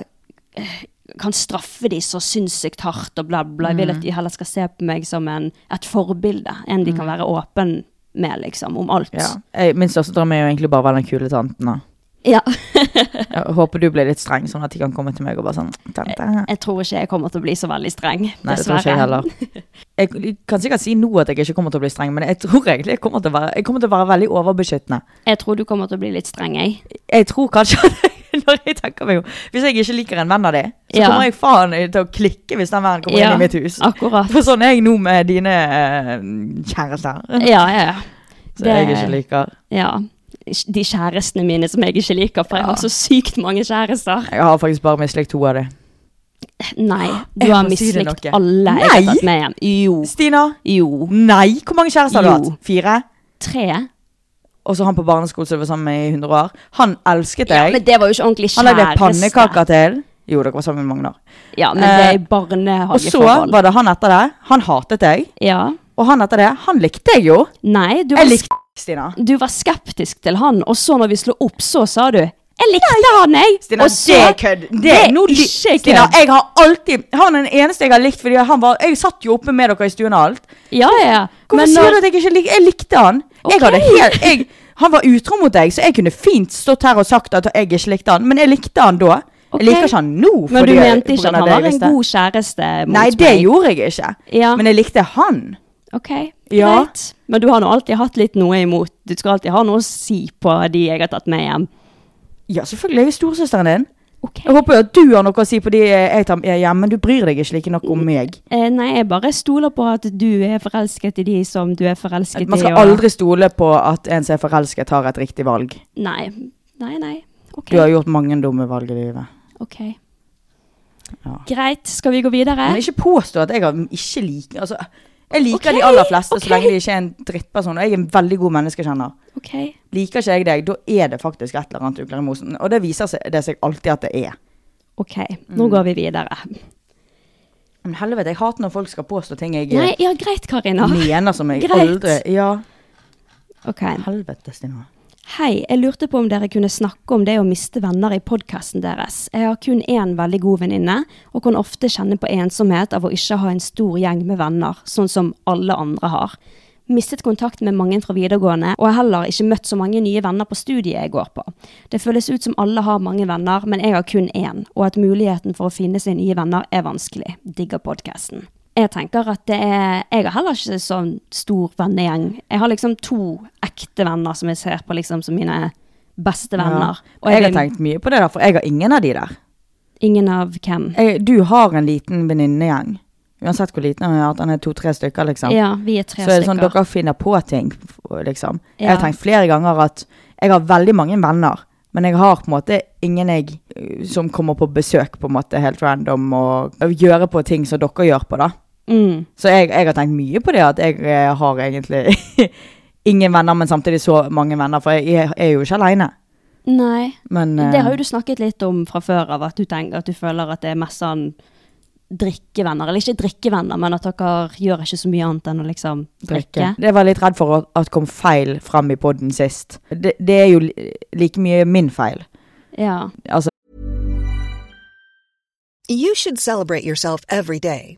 Speaker 2: eh, kan straffe de så sinnssykt hardt og bla, bla. Jeg
Speaker 1: Mm.
Speaker 2: vil at de heller skal se på meg som en, et forbilde enn de kan være åpen med, liksom, om alt.
Speaker 1: Mm. Ja. Jeg, min største drøm er jo egentlig bare å være den kule tanten. da.
Speaker 2: Ja.
Speaker 1: Jeg håper du blir litt streng, sånn at de kan komme til meg og bare sånn Tante.
Speaker 2: Jeg tror ikke jeg kommer til å bli så veldig streng,
Speaker 1: Nei, det tror ikke jeg heller. Jeg kan sikkert si nå at jeg ikke kommer til å bli streng, men jeg tror egentlig jeg kommer til å være, jeg kommer til å være veldig overbeskyttende.
Speaker 2: Jeg tror du kommer til å bli litt streng, jeg.
Speaker 1: Jeg tror kanskje at når jeg tenker meg om Hvis jeg ikke liker en venn av de, så
Speaker 2: Ja.
Speaker 1: kommer jeg faen til å klikke hvis den vennen kommer
Speaker 2: Ja, Ah.
Speaker 1: inn i mitt hus.
Speaker 2: Akkurat.
Speaker 1: For sånn er jeg nå med dine eh, kjærester,
Speaker 2: Ja, ja, ja.
Speaker 1: som
Speaker 2: det-
Speaker 1: jeg ikke liker.
Speaker 2: ja. De kjærestene mine som jeg ikke liker, for jeg har så sykt mange kjærester. Ah,
Speaker 1: Jeg har faktisk bare mislikt to av de.
Speaker 2: Nei, du
Speaker 1: Jeg
Speaker 2: har
Speaker 1: må si det
Speaker 2: mislikt
Speaker 1: noe.
Speaker 2: alle jeg har
Speaker 1: Nei!
Speaker 2: tatt med hjem. Jo.
Speaker 1: Stina?
Speaker 2: Jo.
Speaker 1: Nei! Hvor mange kjærester har du
Speaker 2: Jo.
Speaker 1: hatt? Fire?
Speaker 2: Tre.
Speaker 1: Og så han på barneskolen som vi var sammen med i 100 år. Han elsket
Speaker 2: Ja,
Speaker 1: deg.
Speaker 2: men det var jo ikke ordentlig
Speaker 1: han lagde
Speaker 2: kjæreste.
Speaker 1: pannekaker til. Jo, dere var sammen i mange år.
Speaker 2: Ja, men det er i
Speaker 1: Eh, Og så
Speaker 2: barnehageforhold.
Speaker 1: var det han etter det. Han hatet deg.
Speaker 2: Ja.
Speaker 1: Og han etter det. Han likte jeg jo.
Speaker 2: Nei, du var,
Speaker 1: Jeg likte Stina.
Speaker 2: sk- du var skeptisk til han, og så når vi slo opp, så sa du Jeg likte han, jeg!
Speaker 1: Stina,
Speaker 2: og så,
Speaker 1: det er kødd. Det,
Speaker 2: det er
Speaker 1: nå li-
Speaker 2: ikke
Speaker 1: Stina,
Speaker 2: kødd.
Speaker 1: jeg har alltid Han er den eneste jeg har likt, fordi han var Jeg satt jo oppe med dere i stuen og alt.
Speaker 2: Ja, ja, ja.
Speaker 1: Hvorfor
Speaker 2: Men når-
Speaker 1: sier du at jeg ikke likte Jeg likte han.
Speaker 2: Ok.
Speaker 1: Jeg hadde helt jeg, Han var utro mot deg, så jeg kunne fint stått her og sagt at jeg ikke likte han, men jeg likte han da.
Speaker 2: ok.
Speaker 1: Jeg liker ikke han nå.
Speaker 2: Men du
Speaker 1: fordi-
Speaker 2: mente
Speaker 1: på
Speaker 2: ikke
Speaker 1: grunn
Speaker 2: at
Speaker 1: av
Speaker 2: han
Speaker 1: det
Speaker 2: var
Speaker 1: jeg
Speaker 2: en
Speaker 1: visste.
Speaker 2: god kjæreste? mot
Speaker 1: Nei, det
Speaker 2: meg?
Speaker 1: gjorde jeg ikke.
Speaker 2: Ja,
Speaker 1: Men jeg likte han.
Speaker 2: ok,
Speaker 1: Ja.
Speaker 2: greit. Men du har nå alltid hatt litt noe imot. Du skal alltid ha noe å si på de jeg har tatt med hjem.
Speaker 1: Ja, selvfølgelig. Jeg er jo storesøsteren din.
Speaker 2: Ok.
Speaker 1: Jeg håper jo at du har noe å si på de eh, jeg tar med hjem, men du bryr deg ikke like nok om meg.
Speaker 2: Eh, nei, jeg bare stoler på at du er forelsket i de som du er forelsket i.
Speaker 1: Man skal
Speaker 2: og-
Speaker 1: aldri stole på at en som er forelsket, tar et riktig valg.
Speaker 2: Nei, nei, nei. Ok.
Speaker 1: Du har gjort mange dumme valg i livet.
Speaker 2: ok.
Speaker 1: Ja.
Speaker 2: Greit, skal vi gå videre?
Speaker 1: Men ikke påstå at jeg har ikke liker altså, Jeg liker
Speaker 2: Ok,
Speaker 1: de aller fleste
Speaker 2: ok.
Speaker 1: så lenge de ikke er en drittperson. Og jeg er en veldig god menneskekjenner.
Speaker 2: Ok,
Speaker 1: Liker ikke jeg deg, da er det faktisk et eller annet ugler i mosen. Og det viser seg, det seg alltid at det er.
Speaker 2: ok.
Speaker 1: Mm.
Speaker 2: Nå går vi videre.
Speaker 1: Men helvete, jeg hater når folk skal påstå ting jeg eh,
Speaker 2: Nei, ja, greit, Karina.
Speaker 1: mener som jeg
Speaker 2: Greit.
Speaker 1: aldri Ja,
Speaker 2: Ok.
Speaker 1: helvete, Stina.
Speaker 2: Hei, jeg lurte på om dere kunne snakke om det å miste venner i podkasten deres. Jeg har kun én veldig god venninne, og kan ofte kjenne på ensomhet av å ikke ha en stor gjeng med venner, sånn som alle andre har. Mistet kontakt med mange fra videregående, og har heller ikke møtt så mange nye venner på studiet jeg går på. Det føles ut som alle har mange venner, men jeg har kun én, og at muligheten for å finne seg nye venner er vanskelig. Digger podkasten. Jeg tenker at det er Jeg har heller ikke sånn stor vennegjeng. Jeg har liksom to ekte venner som jeg ser på liksom som mine beste venner.
Speaker 1: Ja. Og jeg har
Speaker 2: vil-
Speaker 1: tenkt mye på det der, for jeg har ingen av de der.
Speaker 2: Ingen av hvem.
Speaker 1: Jeg, Eh, du har en liten venninnegjeng. Uansett hvor liten han er, at han er to-tre stykker, liksom.
Speaker 2: Ja, vi er tre
Speaker 1: så er det
Speaker 2: stykker.
Speaker 1: sånn dere finner på ting, liksom. Jeg
Speaker 2: Ja.
Speaker 1: har tenkt flere ganger at jeg har veldig mange venner, men jeg har på en måte ingen jeg eh, som kommer på besøk, på en måte, helt random, og og gjøre på ting som dere gjør på, da.
Speaker 2: Mm.
Speaker 1: Så jeg, jeg har tenkt mye på det, at jeg eh, har egentlig ingen venner, men samtidig så mange venner, for jeg er- er jo ikke alene.
Speaker 2: Nei.
Speaker 1: Men eh,
Speaker 2: Det har jo du snakket litt om fra før av, at du tenker at du føler at det er mest sånn drikkevenner. Eller ikke drikkevenner, men at dere gjør ikke så mye annet enn å liksom drikke.
Speaker 1: Det var jeg litt redd for at- at kom feil frem i podden sist. Det, det er jo li- like mye min feil.
Speaker 2: Ja.
Speaker 1: Altså,
Speaker 3: You should celebrate yourself every day,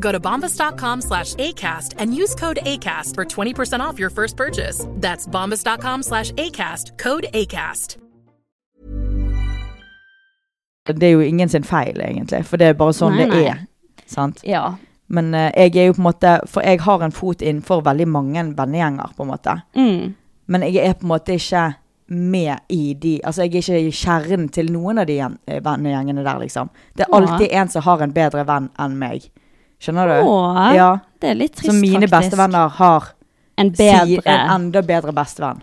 Speaker 4: Go to bombas.com slash ACAST and use code ACAST for 20% off your first purchase. That's bombas.com slash ACAST, code ACAST.
Speaker 1: det er jo ingen sin feil, egentlig, for det er bare sånn
Speaker 2: Nei,
Speaker 1: det
Speaker 2: nei.
Speaker 1: er. Sant?
Speaker 2: ja.
Speaker 1: Men eh, jeg er jo på en måte For jeg har en fot innenfor veldig mange vennegjenger, på en måte.
Speaker 2: Mm.
Speaker 1: Men jeg er på en måte ikke med i de Altså, jeg er ikke i kjernen til noen av de gjen- eh, vennegjengene der, liksom. Det er
Speaker 2: Ja.
Speaker 1: alltid en som har en bedre venn enn meg. Skjønner du?
Speaker 2: Åh,
Speaker 1: ja.
Speaker 2: Det er litt trist,
Speaker 1: Så mine
Speaker 2: faktisk.
Speaker 1: bestevenner har
Speaker 2: En
Speaker 1: si,
Speaker 2: bedre
Speaker 1: en enda bedre bestevenn.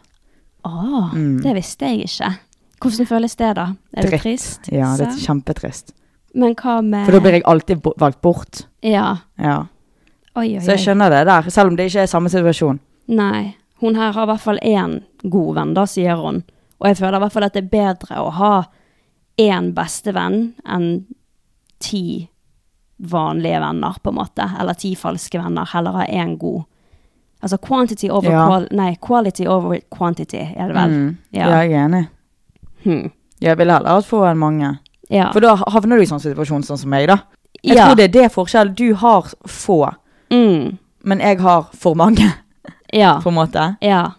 Speaker 2: Åh, Det visste jeg ikke. Hvordan føles det, da? Er det
Speaker 1: Dritt.
Speaker 2: trist?
Speaker 1: Ja, det er
Speaker 2: Sant?
Speaker 1: kjempetrist.
Speaker 2: Men hva med
Speaker 1: For da blir jeg alltid bo- valgt bort.
Speaker 2: Ja.
Speaker 1: Ja.
Speaker 2: Oi, oi,
Speaker 1: Så jeg
Speaker 2: oi.
Speaker 1: skjønner det der, selv om det ikke er samme situasjon.
Speaker 2: Nei. Hun her har i hvert fall én god venn, da, sier hun. Og jeg føler i hvert fall at det er bedre å ha én bestevenn enn ti vanlige venner, på en måte. Eller ti falske venner. Heller ha én god. Altså quantity over
Speaker 1: Ja.
Speaker 2: qual... Nei, quality over quantity, er det vel.
Speaker 1: Mm. Ja.
Speaker 2: Ja.
Speaker 1: jeg er enig.
Speaker 2: Hmm.
Speaker 1: Jeg ville heller hatt få enn mange.
Speaker 2: ja.
Speaker 1: For da havner du i sånn situasjon sånn som meg, da. Jeg
Speaker 2: ja.
Speaker 1: tror det er det forskjellen. Du har få,
Speaker 2: Mm.
Speaker 1: men jeg har for mange,
Speaker 2: Ja.
Speaker 1: på en måte.
Speaker 2: Ja.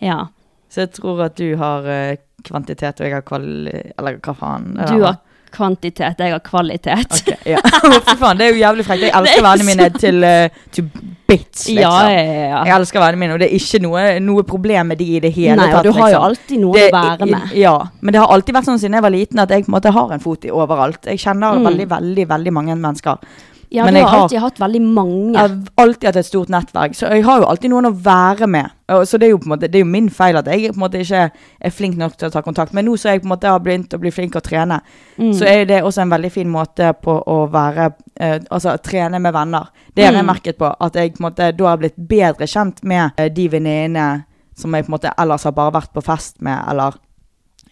Speaker 2: Ja.
Speaker 1: Så jeg tror at du har eh, kvantitet, og jeg har kvali... Eller hva faen? er det
Speaker 2: Du
Speaker 1: da?
Speaker 2: har kvantitet, jeg har kvalitet.
Speaker 1: Ok, ja. Fy faen, det er jo jævlig frekt. Jeg elsker vennene mine til, eh, to bits, liksom.
Speaker 2: Ja, ja,
Speaker 1: Jeg
Speaker 2: ja.
Speaker 1: elsker vennene mine, og det er ikke noe, noe problem med de i det hele
Speaker 2: Nei, og
Speaker 1: tatt.
Speaker 2: du har jo
Speaker 1: liksom.
Speaker 2: alltid noe å være med.
Speaker 1: Ja, men det har alltid vært sånn siden jeg var liten at jeg på en måte har en fot i overalt. Jeg kjenner
Speaker 2: Mm.
Speaker 1: veldig, veldig veldig mange mennesker.
Speaker 2: Ja,
Speaker 1: men
Speaker 2: du
Speaker 1: jeg
Speaker 2: har
Speaker 1: har-
Speaker 2: alltid hatt veldig mange.
Speaker 1: Jeg har alltid hatt et stort nettverk, så jeg har jo alltid noen å være med. Og Så det er jo på en måte, det er jo min feil at jeg på en måte ikke er flink nok til å ta kontakt. Men nå så jeg på en måte har begynt å bli flink å trene,
Speaker 2: Mm.
Speaker 1: så er det også en veldig fin måte på å være eh, Altså trene med venner. Det har jeg
Speaker 2: Mm.
Speaker 1: merket på, at jeg på en måte da har blitt bedre kjent med eh, de venninnene som jeg på en måte ellers har bare vært på fest med, eller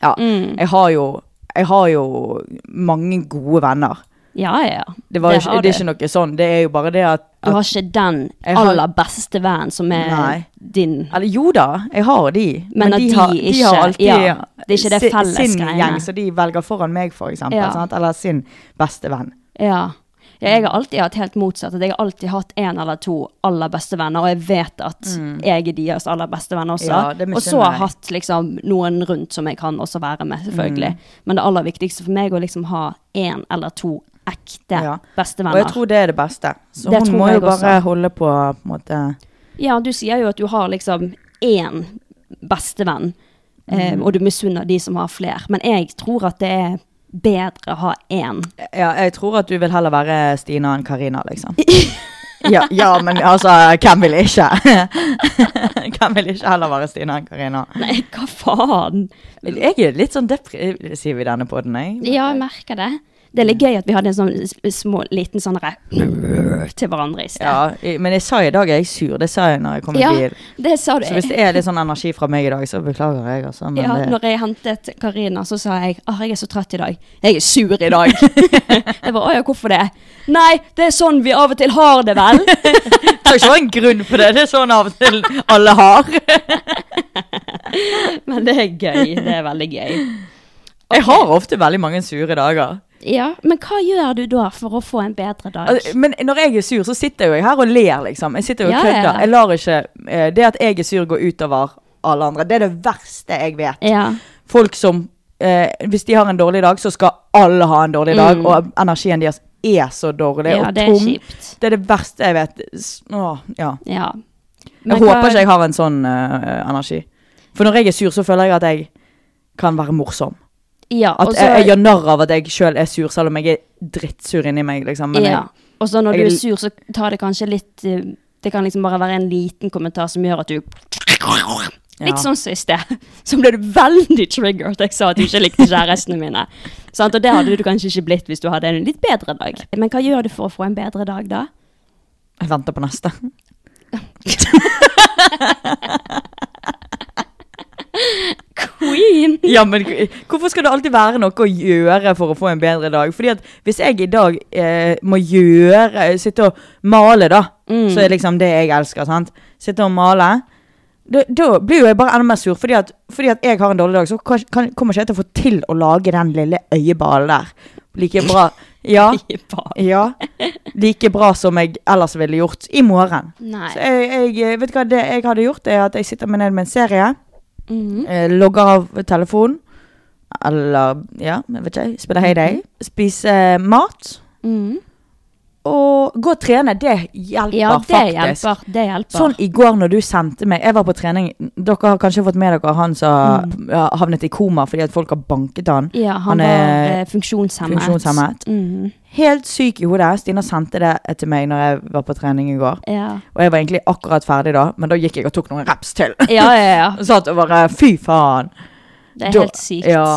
Speaker 1: Ja.
Speaker 2: Mm.
Speaker 1: Jeg har jo jeg har jo mange gode venner.
Speaker 2: Ja, ja.
Speaker 1: Det, var jo ikke,
Speaker 2: har
Speaker 1: det er
Speaker 2: du.
Speaker 1: ikke noe sånn. Det er jo bare det at,
Speaker 2: Du
Speaker 1: at
Speaker 2: har ikke den
Speaker 1: Jeg har-
Speaker 2: aller beste vennen som er
Speaker 1: Nei.
Speaker 2: din.
Speaker 1: Eller jo da, jeg har de.
Speaker 2: Men at de ikke- ja, det er ikke det
Speaker 1: si- sin
Speaker 2: fellesgreiene.
Speaker 1: gjeng, så de velger foran meg, for eksempel.
Speaker 2: Ja.
Speaker 1: Sant? Eller sin beste venn.
Speaker 2: Ja. ja. Jeg har alltid hatt helt motsatt. At jeg har alltid hatt én eller to aller beste venner, og jeg vet at jeg er deres aller beste venn også.
Speaker 1: Mm. Ja, det
Speaker 2: og så
Speaker 1: misunner
Speaker 2: har jeg
Speaker 1: jeg.
Speaker 2: hatt liksom noen rundt som jeg kan også være med, selvfølgelig.
Speaker 1: Mm.
Speaker 2: Men det aller viktigste for meg er å liksom ha én eller to ekte
Speaker 1: Ja. Og jeg
Speaker 2: bestevenner.
Speaker 1: tror det er det beste. Så
Speaker 2: Det
Speaker 1: hun
Speaker 2: tror
Speaker 1: må jo
Speaker 2: jeg også.
Speaker 1: bare holde på, på en måte
Speaker 2: Ja, du sier jo at du har liksom én bestevenn, eh,
Speaker 1: Mm.
Speaker 2: og du misunner de som har flere. Men jeg tror at det er bedre å ha én.
Speaker 1: Ja, jeg tror at du vil heller være Stina enn Karina, liksom. ja, ja, men altså, hvem vil ikke? hvem vil ikke heller være Stina enn Karina?
Speaker 2: Nei, hva faen?
Speaker 1: Jeg er litt sånn deprimert, sier vi i denne podden, jeg.
Speaker 2: Ja, jeg merker det. Det er litt gøy at vi hadde en sånn s- små, liten sånn re- til hverandre i sted.
Speaker 1: Ja, i- men jeg sa i dag jeg er sur. Det sa jeg når jeg kom i
Speaker 2: Ja,
Speaker 1: bil.
Speaker 2: det sa du.
Speaker 1: Så hvis det er litt sånn energi fra meg i dag, så beklager jeg, altså. Men
Speaker 2: ja,
Speaker 1: det,
Speaker 2: når jeg hentet Karina, så sa jeg «Åh, jeg er så trøtt i dag. Jeg er sur i dag. jeg bare, åja, hvorfor det? Nei, det er sånn vi av og til har det vel.
Speaker 1: det er ikke en grunn for det. Det er sånn av og til alle har.
Speaker 2: Men det er gøy, det er veldig gøy.
Speaker 1: Jeg har ofte veldig mange sure dager.
Speaker 2: Ja, men hva gjør du da for å få en bedre dag?
Speaker 1: Altså, Men når jeg er sur, så sitter jo jeg her og ler, liksom. Jeg sitter jo og
Speaker 2: Ja, ja.
Speaker 1: kødder. Jeg lar ikke eh, det at jeg er sur, gå utover alle andre. Det er det verste jeg vet.
Speaker 2: ja,
Speaker 1: Folk som eh, Hvis de har en dårlig dag, så skal alle ha en dårlig dag, og energien deres er så dårlig
Speaker 2: Mm. ja,
Speaker 1: og
Speaker 2: det er
Speaker 1: tom.
Speaker 2: kjipt.
Speaker 1: Det er det verste jeg vet. S- Åh, ja.
Speaker 2: Ja.
Speaker 1: Jeg håper ikke jeg har en sånn eh, energi. For når jeg er sur, så føler jeg at jeg kan være morsom.
Speaker 2: ja,
Speaker 1: At
Speaker 2: og så-
Speaker 1: jeg, jeg gjør narr av at jeg sjøl er sur, selv om jeg er drittsur inni meg. Liksom. Men
Speaker 2: ja. Og så når
Speaker 1: jeg-
Speaker 2: du er sur, så tar det kanskje litt eh, Det kan liksom bare være en liten kommentar som gjør at du
Speaker 1: jeg, ja.
Speaker 2: Litt sånn som i sted. Så ble du veldig triggered. Jeg sa at du ikke likte kjærestene mine. Sant? Og det hadde du kanskje ikke blitt hvis du hadde en litt bedre dag. Men hva gjør du for å få en bedre dag, da?
Speaker 1: jeg venter på neste.
Speaker 2: Queen!
Speaker 1: Ja, men k- Hvorfor skal det alltid være noe å gjøre for å få en bedre dag? Fordi at Hvis jeg i dag eh, må gjøre Sitte og male, da. Så er liksom det jeg elsker. sant? Sitte og male. Da, da blir jo jeg bare enda mer sur. Fordi at, fordi at jeg har en dårlig dag, så kan, kan, kommer ikke jeg til å få til å lage den lille øyeballen der. Like bra Ja. ja. Like bra som jeg ellers ville gjort i morgen.
Speaker 2: Nei.
Speaker 1: Så jeg, jeg, vet du hva det jeg hadde gjort, er at jeg sitter meg ned med en serie.
Speaker 2: Mhm.
Speaker 1: eh, Logger av telefonen. Eller ja, jeg vet ikke. Spiller Heyday.
Speaker 2: Mhm.
Speaker 1: Spiser eh, mat.
Speaker 2: Mm.
Speaker 1: Og gå og trene. Det hjelper
Speaker 2: Ja, det
Speaker 1: faktisk.
Speaker 2: hjelper. Det hjelper.
Speaker 1: Sånn i går når du sendte meg Jeg var på trening. Dere har kanskje fått med dere han som
Speaker 2: Mm.
Speaker 1: ja, havnet i koma fordi at folk har banket han.
Speaker 2: Ja,
Speaker 1: Han
Speaker 2: han, var
Speaker 1: er
Speaker 2: eh, funksjonshemmet.
Speaker 1: Funksjonshemmet.
Speaker 2: Mhm.
Speaker 1: Helt syk i hodet. Stina sendte det til meg når jeg var på trening i går.
Speaker 2: Ja.
Speaker 1: Og jeg var egentlig akkurat ferdig da, men da gikk jeg og tok noen reps til.
Speaker 2: ja, ja, ja.
Speaker 1: Satt og bare Fy faen.
Speaker 2: Det er
Speaker 1: Da-
Speaker 2: helt sykt.
Speaker 1: Ja.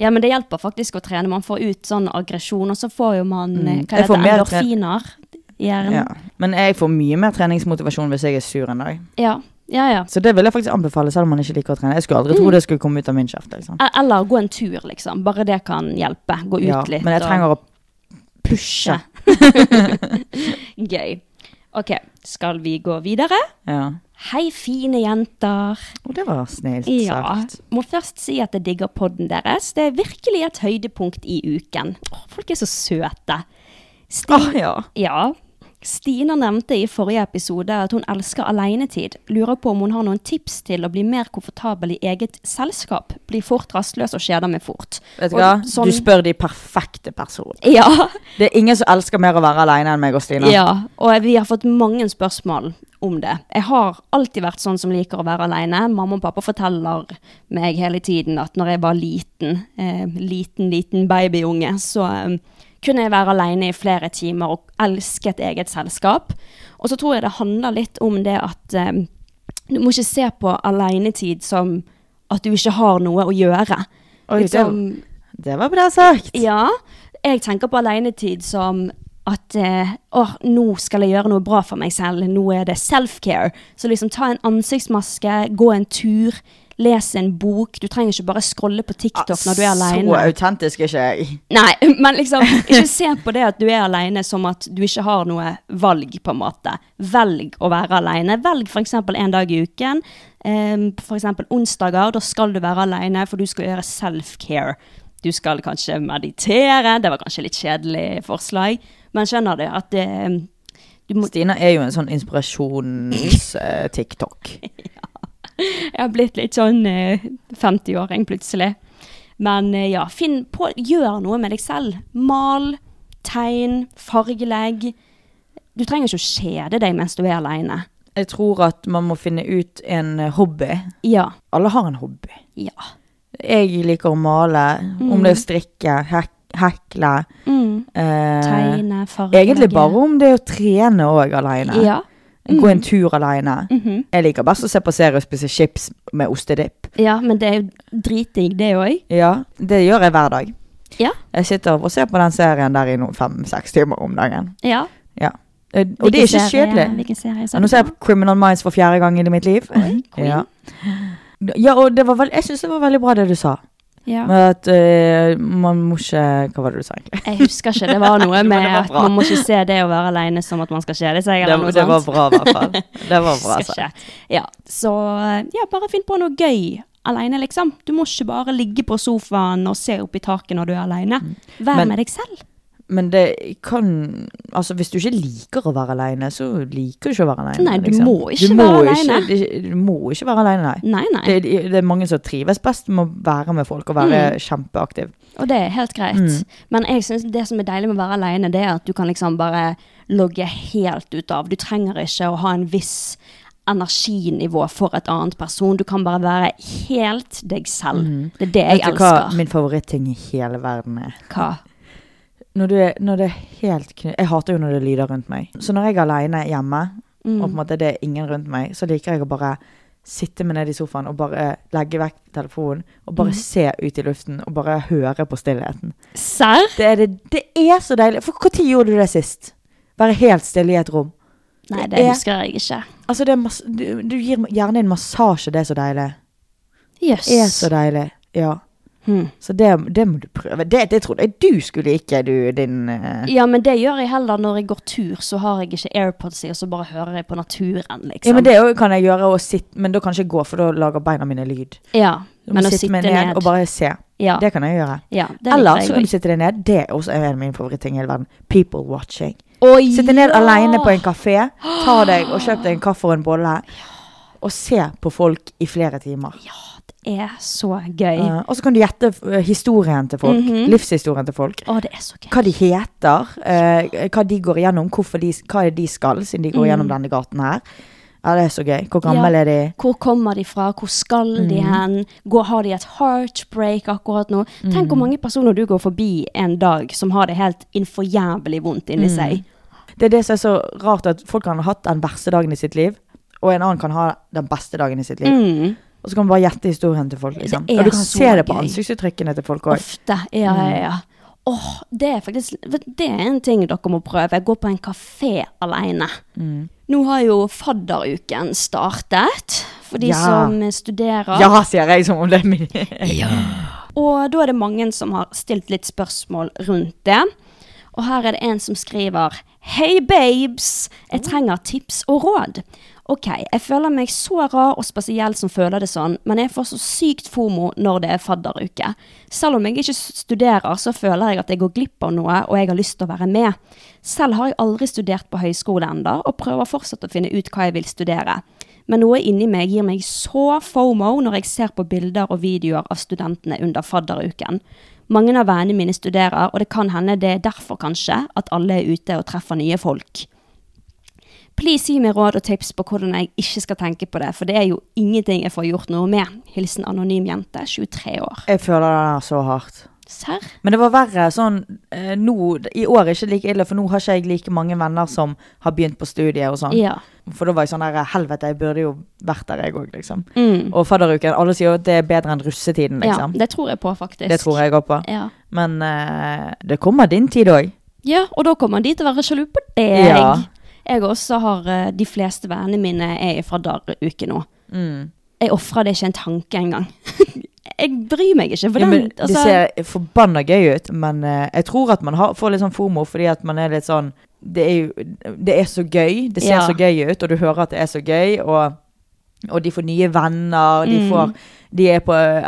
Speaker 2: Ja, men det hjelper faktisk å trene. Man får ut sånn aggresjon, og så får jo man eh,
Speaker 1: Mm.
Speaker 2: hva
Speaker 1: Jeg får
Speaker 2: heter det,
Speaker 1: mer tre-
Speaker 2: endorfiner i
Speaker 1: ja.
Speaker 2: hjernen.
Speaker 1: Men jeg får mye mer treningsmotivasjon hvis jeg er sur en dag.
Speaker 2: Ja. ja, ja.
Speaker 1: Så det vil jeg faktisk anbefale, selv om man ikke liker å trene. Jeg skulle aldri
Speaker 2: Mm.
Speaker 1: tro det skulle komme ut av min kjeft. Liksom.
Speaker 2: E- Eller gå en tur, liksom. Bare det kan hjelpe. Gå ut
Speaker 1: Ja,
Speaker 2: litt.
Speaker 1: men jeg trenger å
Speaker 2: og pushe. Gøy. Ok, skal vi gå videre?
Speaker 1: ja.
Speaker 2: Hei, fine jenter.
Speaker 1: Og det var snilt
Speaker 2: Ja.
Speaker 1: sagt.
Speaker 2: Må først si at jeg digger podden deres. Det er virkelig et høydepunkt i uken. Åh, folk er så søte. Sti
Speaker 1: Åh, ja.
Speaker 2: Ja. Stina nevnte i forrige episode at hun elsker alenetid. Lurer på om hun har noen tips til å bli mer komfortabel i eget selskap. Blir fort rastløs og kjeder meg fort.
Speaker 1: Vet du
Speaker 2: Og
Speaker 1: hva?
Speaker 2: sånn-
Speaker 1: Du spør de perfekte personene.
Speaker 2: Ja,
Speaker 1: Det er ingen som elsker mer å være alene enn meg og Stina.
Speaker 2: ja. Og vi har fått mange spørsmål om det. Jeg har alltid vært sånn som liker å være alene. Mamma og pappa forteller meg hele tiden at når jeg var liten, eh, liten, liten babyunge, så eh, kunne jeg være alene i flere timer og elsket eget selskap. Og så tror jeg det handler litt om det at eh, du må ikke se på alenetid som at du ikke har noe å gjøre.
Speaker 1: Oi, det,
Speaker 2: Liksom-
Speaker 1: det var bra sagt.
Speaker 2: ja, jeg tenker på alenetid som at eh, åh, nå skal jeg gjøre noe bra for meg selv, nå er det self-care. Så liksom ta en ansiktsmaske, gå en tur, les en bok. Du trenger ikke bare scrolle på TikTok når du er alene.
Speaker 1: Så autentisk er ikke jeg.
Speaker 2: Nei, men liksom, ikke se på det at du er alene som at du ikke har noe valg, på en måte. Velg å være alene. Velg f.eks. en dag i uken. Um, f.eks. onsdager. Da skal du være alene, for du skal gjøre self-care. Du skal kanskje meditere. Det var kanskje litt kjedelig forslag, men skjønner du at det, du må,
Speaker 1: Stina er jo en sånn inspirasjons-TikTok.
Speaker 2: Jeg har blitt litt sånn eh, 50-åring plutselig. Men eh, ja, finn på Gjør noe med deg selv. Mal, tegn, fargelegg. Du trenger ikke å kjede deg mens du er aleine.
Speaker 1: Jeg tror at man må finne ut en hobby.
Speaker 2: Ja.
Speaker 1: Alle har en hobby.
Speaker 2: Ja.
Speaker 1: Jeg liker å male, om det er å strikke, hek hekle
Speaker 2: Mm.
Speaker 1: eh,
Speaker 2: Tegne, fargelegge.
Speaker 1: Egentlig bare om det er å trene òg aleine.
Speaker 2: Ja. Mm.
Speaker 1: Gå en tur aleine.
Speaker 2: Mhm.
Speaker 1: Jeg liker best å se på serier og spise chips med ostedipp.
Speaker 2: ja, men det er jo dritdigg, det òg.
Speaker 1: Ja, det gjør jeg hver dag.
Speaker 2: Ja.
Speaker 1: Jeg sitter og ser på den serien der i noen fem-seks timer om dagen.
Speaker 2: Ja.
Speaker 1: Eh, Og det er ikke kjedelig.
Speaker 2: Hvilken serie
Speaker 1: Ja, nå ser jeg på Criminal Minds for fjerde gang i mitt liv.
Speaker 2: queen.
Speaker 1: ja. ja, og det var vel, jeg syns det var veldig bra det du sa.
Speaker 2: Ja.
Speaker 1: Med at eh, man må ikke Hva var det du sa, egentlig?
Speaker 2: Jeg husker ikke. Det var noe
Speaker 1: Jo, men
Speaker 2: med
Speaker 1: det var
Speaker 2: at
Speaker 1: bra.
Speaker 2: man må ikke se det å være aleine som at man skal kjede seg.
Speaker 1: Det,
Speaker 2: Eller noe
Speaker 1: det var
Speaker 2: sånt.
Speaker 1: bra, i hvert fall. Det var bra
Speaker 2: Skal
Speaker 1: sagt.
Speaker 2: ikke. Ja, så ja, bare finn på noe gøy alene, liksom. Du må ikke bare ligge på sofaen og se opp i taket når du er alene.
Speaker 1: Mm.
Speaker 2: Vær
Speaker 1: Men-
Speaker 2: med deg selv.
Speaker 1: Men det kan Altså, hvis du ikke liker å være aleine, så liker du ikke å være liksom. aleine.
Speaker 2: Nei, du må ikke være alene.
Speaker 1: det- Du må ikke være aleine, nei.
Speaker 2: Nei, nei.
Speaker 1: Det, det er mange som trives best med å være med folk og
Speaker 2: Mm.
Speaker 1: være kjempeaktiv.
Speaker 2: Og det er helt greit.
Speaker 1: Mm.
Speaker 2: Men jeg synes det som er deilig med å være alene, det er at du kan liksom bare logge helt ut av. Du trenger ikke å ha en viss energinivå for et annet person. Du kan bare være helt deg selv. Det er det jeg
Speaker 1: Mm. Vet du hva
Speaker 2: elsker.
Speaker 1: min favoritting i hele verden er?
Speaker 2: Hva?
Speaker 1: når, du er, når det er helt kny... Jeg hater jo når det er lyder rundt meg. Så når jeg er alene hjemme,
Speaker 2: Mm.
Speaker 1: og på en måte det er ingen rundt meg, så liker jeg å bare sitte meg ned i sofaen og bare legge vekk telefonen, og
Speaker 2: Mm.
Speaker 1: bare se ut i luften, og bare høre på stillheten.
Speaker 2: Serr?
Speaker 1: Det er, det, det er så deilig. For når gjorde du det sist? Være helt stille i et rom.
Speaker 2: Nei,
Speaker 1: Det
Speaker 2: det
Speaker 1: er-
Speaker 2: husker jeg ikke.
Speaker 1: Altså, det er mass du, du gir hjernen din massasje, det er så deilig.
Speaker 2: Jøss.
Speaker 1: Det er så deilig, ja.
Speaker 2: Hmm.
Speaker 1: Så det, det må du prøve. Det, det trodde jeg du skulle like, du, din eh,
Speaker 2: Ja, men det gjør jeg heller når jeg går tur, så har jeg ikke AirPods i, og så bare hører jeg på naturen, liksom.
Speaker 1: Ja, men det jo- kan jeg gjøre, og sitt, men da kan jeg ikke gå, for da lager beina mine lyd.
Speaker 2: Ja,
Speaker 1: Du må
Speaker 2: men å
Speaker 1: sitte
Speaker 2: sitte
Speaker 1: meg
Speaker 2: ned,
Speaker 1: ned, og bare se.
Speaker 2: ja,
Speaker 1: Det kan jeg gjøre.
Speaker 2: ja, det
Speaker 1: Eller
Speaker 2: liker jeg
Speaker 1: så kan du
Speaker 2: også.
Speaker 1: sitte deg ned. Det er også en av mine favorittting i hele verden. People watching.
Speaker 2: Å,
Speaker 1: Sitte ned
Speaker 2: ja!
Speaker 1: alene på en kafé, ta deg og kjøp deg en kaffe og en bolle, og se på folk i flere timer.
Speaker 2: Det er så gøy.
Speaker 1: Eh, og så kan du gjette eh, historien til folk.
Speaker 2: Mhm.
Speaker 1: Livshistorien til folk.
Speaker 2: Å, det er så gøy.
Speaker 1: Hva de heter, eh, hva de går igjennom, hvorfor de, hva er det de skal, siden de går gjennom denne gaten her. Ja, det er så gøy. Hvor gammel
Speaker 2: Mm. Ja.
Speaker 1: er de?
Speaker 2: Hvor kommer de fra? Hvor skal de
Speaker 1: Mm.
Speaker 2: hen? Går, har de et heartbreak akkurat nå?
Speaker 1: Mm.
Speaker 2: Tenk hvor mange personer du går forbi en dag som har det helt innenfor jævlig vondt
Speaker 1: Mm.
Speaker 2: inni seg.
Speaker 1: Det er det som er så rart, at folk kan ha hatt den verste dagen i sitt liv, og en annen kan ha den beste dagen i sitt liv.
Speaker 2: Mm.
Speaker 1: Og så kan man bare gjette historien til folk. liksom.
Speaker 2: Det er
Speaker 1: Og du kan
Speaker 2: så
Speaker 1: se det på
Speaker 2: gøy.
Speaker 1: ansiktsuttrykkene til folk òg.
Speaker 2: Ofte. Ja, ja,
Speaker 1: Mm.
Speaker 2: ja. Åh, det er faktisk vet du, Det er en ting dere må prøve. Gå på en kafé alene.
Speaker 1: Mm.
Speaker 2: Nå har jo fadderuken startet, for de
Speaker 1: Ja.
Speaker 2: som studerer.
Speaker 1: Ja, sier jeg som om det er min
Speaker 2: Og da er det mange som har stilt litt spørsmål rundt det. Og her er det en som skriver Hei, babes! Jeg trenger tips og råd. Ok, jeg føler meg så rar og spesiell som føler det sånn, men jeg får så sykt fomo når det er fadderuke. Selv om jeg ikke studerer, så føler jeg at jeg går glipp av noe, og jeg har lyst til å være med. Selv har jeg aldri studert på høyskole enda, og prøver fortsatt å finne ut hva jeg vil studere. Men noe inni meg gir meg så fomo når jeg ser på bilder og videoer av studentene under fadderuken. Mange av vennene mine studerer, og det kan hende det er derfor kanskje at alle er ute og treffer nye folk. Please gi meg råd og tips på hvordan jeg ikke skal tenke på det, for det er jo ingenting jeg får gjort noe med. Hilsen anonym jente, 23 år.
Speaker 1: Jeg føler den her så hardt.
Speaker 2: Serr?
Speaker 1: Men det var verre sånn eh, nå I år er ikke like ille, for nå har ikke jeg like mange venner som har begynt på studiet og sånn.
Speaker 2: Ja.
Speaker 1: For da var jeg sånn der Helvete, jeg burde jo vært der, jeg òg, liksom.
Speaker 2: Mm.
Speaker 1: Og fadderuken. Alle sier jo at det er bedre enn russetiden,
Speaker 2: ja.
Speaker 1: liksom.
Speaker 2: Det tror jeg på, faktisk.
Speaker 1: det tror jeg òg på.
Speaker 2: Ja.
Speaker 1: Men eh, det kommer din tid òg.
Speaker 2: ja, og da kommer de til å være sjalu på deg.
Speaker 1: Ja.
Speaker 2: Jeg også har eh, De fleste vennene mine er i fadderuke nå.
Speaker 1: Mm.
Speaker 2: Jeg ofrer det ikke en tanke engang. jeg bryr meg ikke. For
Speaker 1: Ja, men
Speaker 2: den,
Speaker 1: det
Speaker 2: altså,
Speaker 1: ser forbanna gøy ut, men eh, jeg tror at man har, får litt sånn fomo fordi at man er litt sånn Det er, jo, det er så gøy, det ser
Speaker 2: Ja.
Speaker 1: så gøy ut, og du hører at det er så gøy, og, og de får nye venner, de,
Speaker 2: Mm.
Speaker 1: får, de er på eh,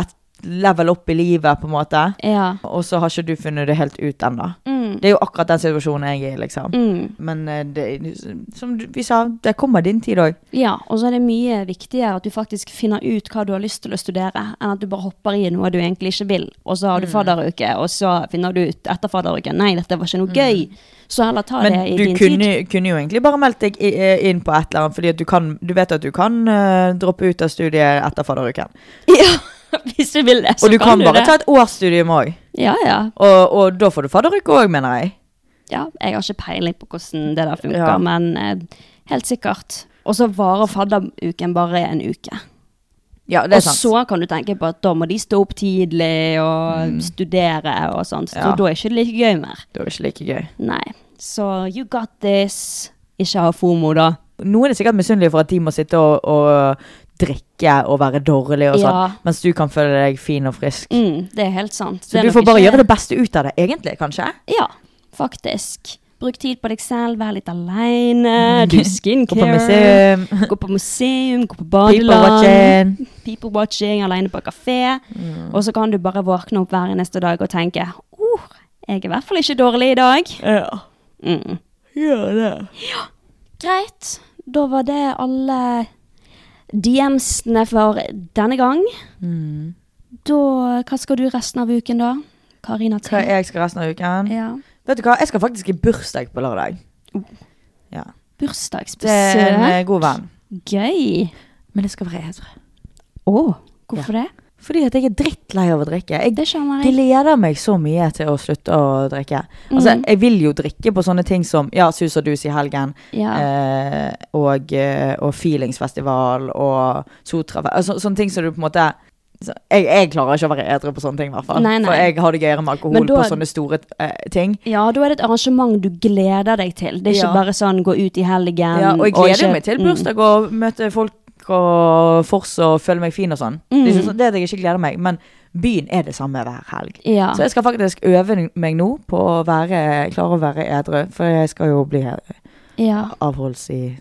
Speaker 1: et level opp i livet, på en måte.
Speaker 2: ja.
Speaker 1: Og så har ikke du funnet det helt ut ennå.
Speaker 2: Mm.
Speaker 1: Det er jo akkurat den situasjonen jeg er i, liksom.
Speaker 2: Mm.
Speaker 1: Men eh, det, som du- vi sa, det kommer din tid òg.
Speaker 2: Ja, og så er det mye viktigere at du faktisk finner ut hva du har lyst til å studere, enn at du bare hopper i noe du egentlig ikke vil, og så har
Speaker 1: Mm.
Speaker 2: du fadderuke, og så finner du ut etter fadderuken nei, dette var ikke noe gøy. Så heller ta det
Speaker 1: Mm. Men
Speaker 2: i
Speaker 1: du
Speaker 2: din
Speaker 1: kunne,
Speaker 2: tid.
Speaker 1: kunne jo egentlig bare meldt deg i- i- inn på et eller annet, fordi at du, kan, du vet at du kan eh, droppe ut av studiet etter fadderuken.
Speaker 2: Ja, hvis du vil det, så
Speaker 1: Og du kan, bare
Speaker 2: det.
Speaker 1: ta et årsstudium òg.
Speaker 2: Ja, ja.
Speaker 1: Og, og da får du fadderuke òg, mener jeg.
Speaker 2: ja. Jeg har ikke peiling på hvordan det der funker,
Speaker 1: Ja.
Speaker 2: men eh, helt sikkert. Og så varer fadderuken bare en uke.
Speaker 1: Ja,
Speaker 2: Og så kan du tenke på at da må de stå opp tidlig og studere og sånt, så
Speaker 1: Mm. Ja.
Speaker 2: da er ikke det like gøy mer.
Speaker 1: Det var ikke like gøy.
Speaker 2: Nei. Så you got this. Ikke ha fomo, da.
Speaker 1: Noen er sikkert misunnelige for at de må sitte og, og drikke og være dårlig og sånn,
Speaker 2: Ja.
Speaker 1: mens du kan føle deg fin og frisk.
Speaker 2: Mm, det er helt sant.
Speaker 1: Så du får bare gjøre det beste ut av det, egentlig, kanskje?
Speaker 2: Ja, faktisk. Bruk tid på deg selv, vær litt aleine, do
Speaker 1: Gå på
Speaker 2: skincare.
Speaker 1: museum,
Speaker 2: Gå på museum, gå på
Speaker 1: people
Speaker 2: badeland.
Speaker 1: watching.
Speaker 2: People watching, aleine på kafé.
Speaker 1: Mm.
Speaker 2: Og så kan du bare våkne opp hver eneste dag og tenke uh, jeg er i hvert fall ikke dårlig i dag.
Speaker 1: Ja,
Speaker 2: Mm.
Speaker 1: gjør det.
Speaker 2: Greit. Da var det alle DMs-ene for denne gang.
Speaker 1: Mm.
Speaker 2: Da, Hva skal du resten av uken, da? Karina T.
Speaker 1: Hva jeg skal resten av uken?
Speaker 2: Ja.
Speaker 1: Vet du hva, jeg skal faktisk i bursdag på lørdag. Ja. Det er en eh,
Speaker 2: Bursdagsbesøk.
Speaker 1: god venn.
Speaker 2: Gøy.
Speaker 1: Men det skal være edru.
Speaker 2: Å, hvorfor det?
Speaker 1: Fordi at jeg er drittlei av å drikke. Jeg
Speaker 2: Det skjønner jeg.
Speaker 1: gleder meg så mye til å slutte å drikke. Altså,
Speaker 2: Mhm.
Speaker 1: jeg vil jo drikke på sånne ting som ja, sus og dus i helgen,
Speaker 2: Ja.
Speaker 1: eh, og, eh, og feelingsfestival og sotrafe... Altså, sånne ting som du på en måte så- jeg, jeg klarer ikke å være edru på sånne ting, i hvert fall.
Speaker 2: Nei, nei.
Speaker 1: For jeg har det gøyere med
Speaker 2: Men
Speaker 1: alkohol
Speaker 2: da-
Speaker 1: på sånne store eh, ting.
Speaker 2: ja, da er det et arrangement du gleder deg til. Det er
Speaker 1: Ja.
Speaker 2: ikke bare sånn gå ut i helgen.
Speaker 1: Ja, og jeg gleder
Speaker 2: Um, ikke-
Speaker 1: meg til
Speaker 2: Mm.
Speaker 1: bursdag og møte folk og fors og føle meg fin og sånn. Det er
Speaker 2: Mm.
Speaker 1: ikke sånn- det at jeg ikke gleder meg, men byen er det samme hver helg.
Speaker 2: Ja.
Speaker 1: Så jeg skal faktisk øve meg nå på å være, klare å være edru, for jeg skal jo bli
Speaker 2: ja.
Speaker 1: avholds i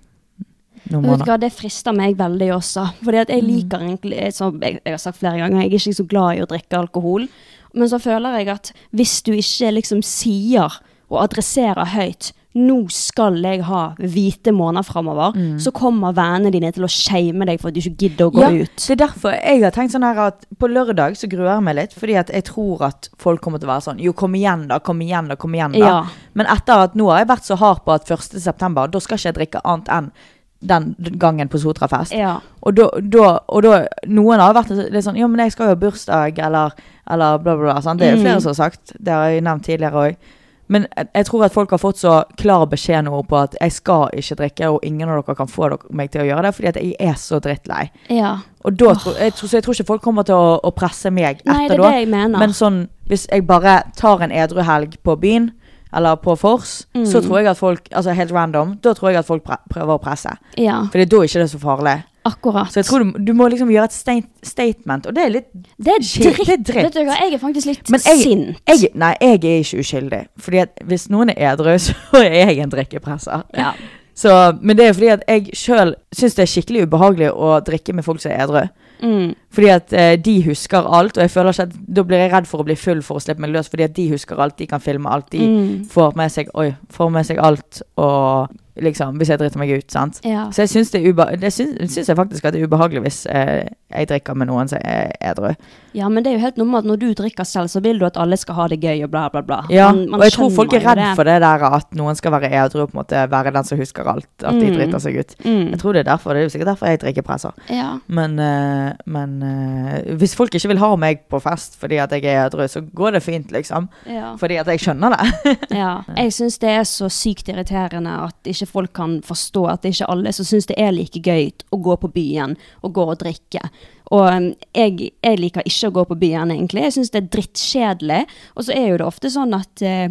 Speaker 1: noen
Speaker 2: Vet du
Speaker 1: måneder.
Speaker 2: hva, Det frister meg veldig også. Fordi at jeg
Speaker 1: Mm.
Speaker 2: liker egentlig, som jeg, jeg har sagt flere ganger, jeg er ikke så glad i å drikke alkohol. Men så føler jeg at hvis du ikke liksom sier og adresserer høyt nå skal jeg ha hvite måneder framover,
Speaker 1: Mm.
Speaker 2: så kommer vennene dine til å shame deg for at du ikke gidder å gå
Speaker 1: Ja,
Speaker 2: ut.
Speaker 1: det er derfor jeg har tenkt sånn her at på lørdag så gruer jeg meg litt, fordi at jeg tror at folk kommer til å være sånn jo, kom igjen da, kom igjen da, kom igjen da.
Speaker 2: Ja.
Speaker 1: Men etter at nå har jeg vært så hard på at 1. september, da skal ikke jeg drikke annet enn den gangen på Sotrafest.
Speaker 2: Ja.
Speaker 1: Og da, da, og da Noen har vært litt sånn Ja, men jeg skal jo ha bursdag, eller, eller bla, bla, bla. Sant? Det er jo flere som har sagt. Det har jeg nevnt tidligere òg. Men jeg, jeg tror at folk har fått så klar beskjed nå på at jeg skal ikke drikke, og ingen av dere kan få dere, meg til å gjøre det, fordi at jeg er så drittlei.
Speaker 2: Ja.
Speaker 1: Og da, tror- jeg, tror- så jeg tror ikke folk kommer til å, å presse meg etter
Speaker 2: Nei, det er
Speaker 1: da.
Speaker 2: det jeg mener.
Speaker 1: Men sånn, hvis jeg bare tar en edru helg på byen, eller på Fors,
Speaker 2: Mm.
Speaker 1: så tror jeg at folk, altså helt random, da tror jeg at folk pre prøver å presse.
Speaker 2: ja.
Speaker 1: Fordi da er ikke det så farlig.
Speaker 2: Akkurat.
Speaker 1: Så jeg tror du, du må liksom gjøre et stain- statement, og det er litt
Speaker 2: det er
Speaker 1: shit,
Speaker 2: dritt.
Speaker 1: det er dritt.
Speaker 2: Vet du hva, jeg er faktisk litt
Speaker 1: Men jeg-
Speaker 2: sint.
Speaker 1: jeg, Nei, jeg er ikke uskyldig. Fordi at hvis noen er edru, så er jeg en drikkepresser.
Speaker 2: ja.
Speaker 1: Så, men det er fordi at jeg sjøl syns det er skikkelig ubehagelig å drikke med folk som er edru.
Speaker 2: mm.
Speaker 1: Fordi at eh, de husker alt, og jeg føler ikke at da blir jeg redd for å bli full for å slippe meg løs, fordi at de husker alt, de kan filme alt, de
Speaker 2: Mm.
Speaker 1: får med seg Oi, får med seg alt, og liksom Hvis jeg driter meg ut, sant.
Speaker 2: Ja.
Speaker 1: Så jeg syns det er ube det syns, syns jeg faktisk at det er ubehagelig hvis eh, jeg drikker med noen som er edru.
Speaker 2: ja, men det er jo helt normalt. Når du drikker selv, så vil du at alle skal ha det gøy og bla, bla, bla.
Speaker 1: Ja,
Speaker 2: Man- man
Speaker 1: og jeg tror folk er
Speaker 2: skjønner jo
Speaker 1: redd for det der at noen skal være edru, på en måte være den som husker alt, at de
Speaker 2: Mm.
Speaker 1: driter seg ut.
Speaker 2: Mm.
Speaker 1: Jeg tror det er derfor, det er jo sikkert derfor jeg drikker presser.
Speaker 2: Ja.
Speaker 1: Men, eh, men eh, hvis folk ikke vil ha meg på fest fordi at jeg er edru, så går det fint, liksom.
Speaker 2: Ja.
Speaker 1: Fordi at jeg skjønner det.
Speaker 2: ja. Jeg syns det er så sykt irriterende at ikke folk kan forstå at det er ikke alle som syns det er like gøy å gå på byen og gå og drikke. Og um, jeg, jeg liker ikke å gå på byen, egentlig. Jeg syns det er drittkjedelig. Og så er jo det ofte sånn at eh,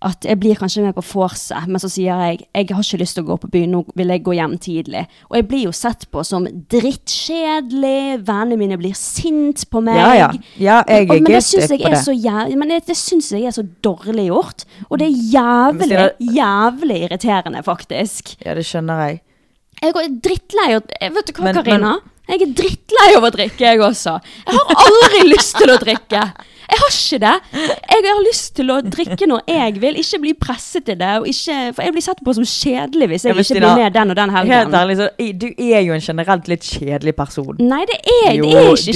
Speaker 2: at jeg blir kanskje med på vorset, men så sier jeg jeg har ikke lyst til å gå på byen, nå vil jeg gå hjem tidlig. Og jeg blir jo sett på som drittkjedelig, vennene mine blir sint på meg.
Speaker 1: Ja, ja. Ja, jeg
Speaker 2: Og-
Speaker 1: er
Speaker 2: men det
Speaker 1: gift
Speaker 2: syns jeg
Speaker 1: på
Speaker 2: er
Speaker 1: det.
Speaker 2: så jævlig, men det, det syns jeg er så dårlig gjort. Og det er jævlig,
Speaker 1: Mm. Men
Speaker 2: jævlig irriterende, faktisk.
Speaker 1: Ja, det skjønner jeg.
Speaker 2: Jeg er drittlei av jeg- Vet du hva,
Speaker 1: Men-
Speaker 2: Karina? Jeg er drittlei av å drikke, jeg også. Jeg har aldri lyst til å drikke. Jeg har ikke det. Jeg har lyst til å drikke når jeg vil, ikke bli presset til det. Og ikke, for jeg blir sett på som kjedelig hvis jeg
Speaker 1: Ja, men
Speaker 2: ikke
Speaker 1: Stina,
Speaker 2: blir med den og den
Speaker 1: Helt
Speaker 2: helgen.
Speaker 1: ærlig, så i- du er jo en generelt litt kjedelig person.
Speaker 2: Nei, det er, det er ikke kjedelig å ikke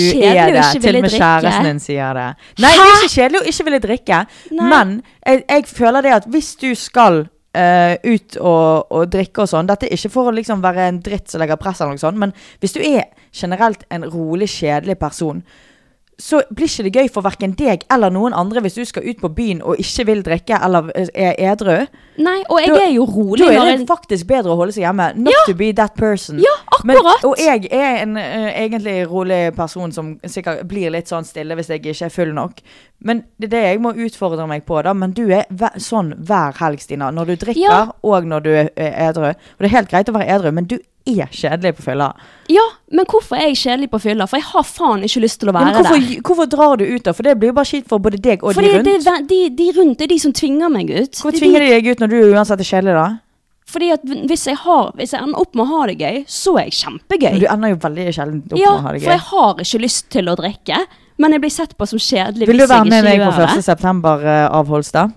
Speaker 1: Til
Speaker 2: ville
Speaker 1: og med
Speaker 2: drikke.
Speaker 1: kjæresten din sier det. Nei, det er ikke kjedelig å ikke ville drikke,
Speaker 2: Nei.
Speaker 1: men jeg, jeg føler det at hvis du skal eh, ut og, og drikke og sånn Dette er ikke for å liksom være en dritt som legger press, eller noe sånt, men hvis du er generelt en rolig, kjedelig person, så blir ikke det gøy for verken deg eller noen andre hvis du skal ut på byen og ikke vil drikke eller eh, er edru.
Speaker 2: Nei, og jeg
Speaker 1: Da-
Speaker 2: er jo rolig.
Speaker 1: Da
Speaker 2: når
Speaker 1: er
Speaker 2: jeg-
Speaker 1: det faktisk bedre å holde seg hjemme. Not to be that person.
Speaker 2: Ja, akkurat.
Speaker 1: og jeg er en eh, egentlig rolig person som sikkert blir litt sånn stille hvis jeg ikke er full nok. Men det er det jeg må utfordre meg på, da. Men du er hver, sånn hver helg, Stina. Når du drikker
Speaker 2: Ja.
Speaker 1: og når du er er edru. Og det er helt greit å være edru, men du er kjedelig på fylla.
Speaker 2: Ja, men hvorfor er jeg kjedelig på fylla? For jeg har faen ikke lyst til å
Speaker 1: Ja,
Speaker 2: være
Speaker 1: men hvorfor,
Speaker 2: der.
Speaker 1: hvorfor drar du ut, da? For det blir jo bare skitt for både deg og
Speaker 2: Fordi
Speaker 1: de rundt.
Speaker 2: det er ve- de, de rundt er de som tvinger meg ut.
Speaker 1: Hvorfor
Speaker 2: Det er
Speaker 1: tvinger
Speaker 2: de,
Speaker 1: de deg ut når du uansett er kjedelig, da?
Speaker 2: Fordi at hvis jeg, har, hvis jeg ender opp med å ha det gøy, så er jeg kjempegøy.
Speaker 1: Men du ender jo veldig sjelden opp med
Speaker 2: ja,
Speaker 1: å ha det
Speaker 2: for
Speaker 1: gøy.
Speaker 2: jeg har ikke lyst til å drikke. Men jeg blir sett på som kjedelig
Speaker 1: Vil du
Speaker 2: hvis
Speaker 1: være
Speaker 2: jeg
Speaker 1: med
Speaker 2: ikke
Speaker 1: meg på eh,
Speaker 2: gjør
Speaker 1: 1.
Speaker 2: det.
Speaker 1: september-avholds, da?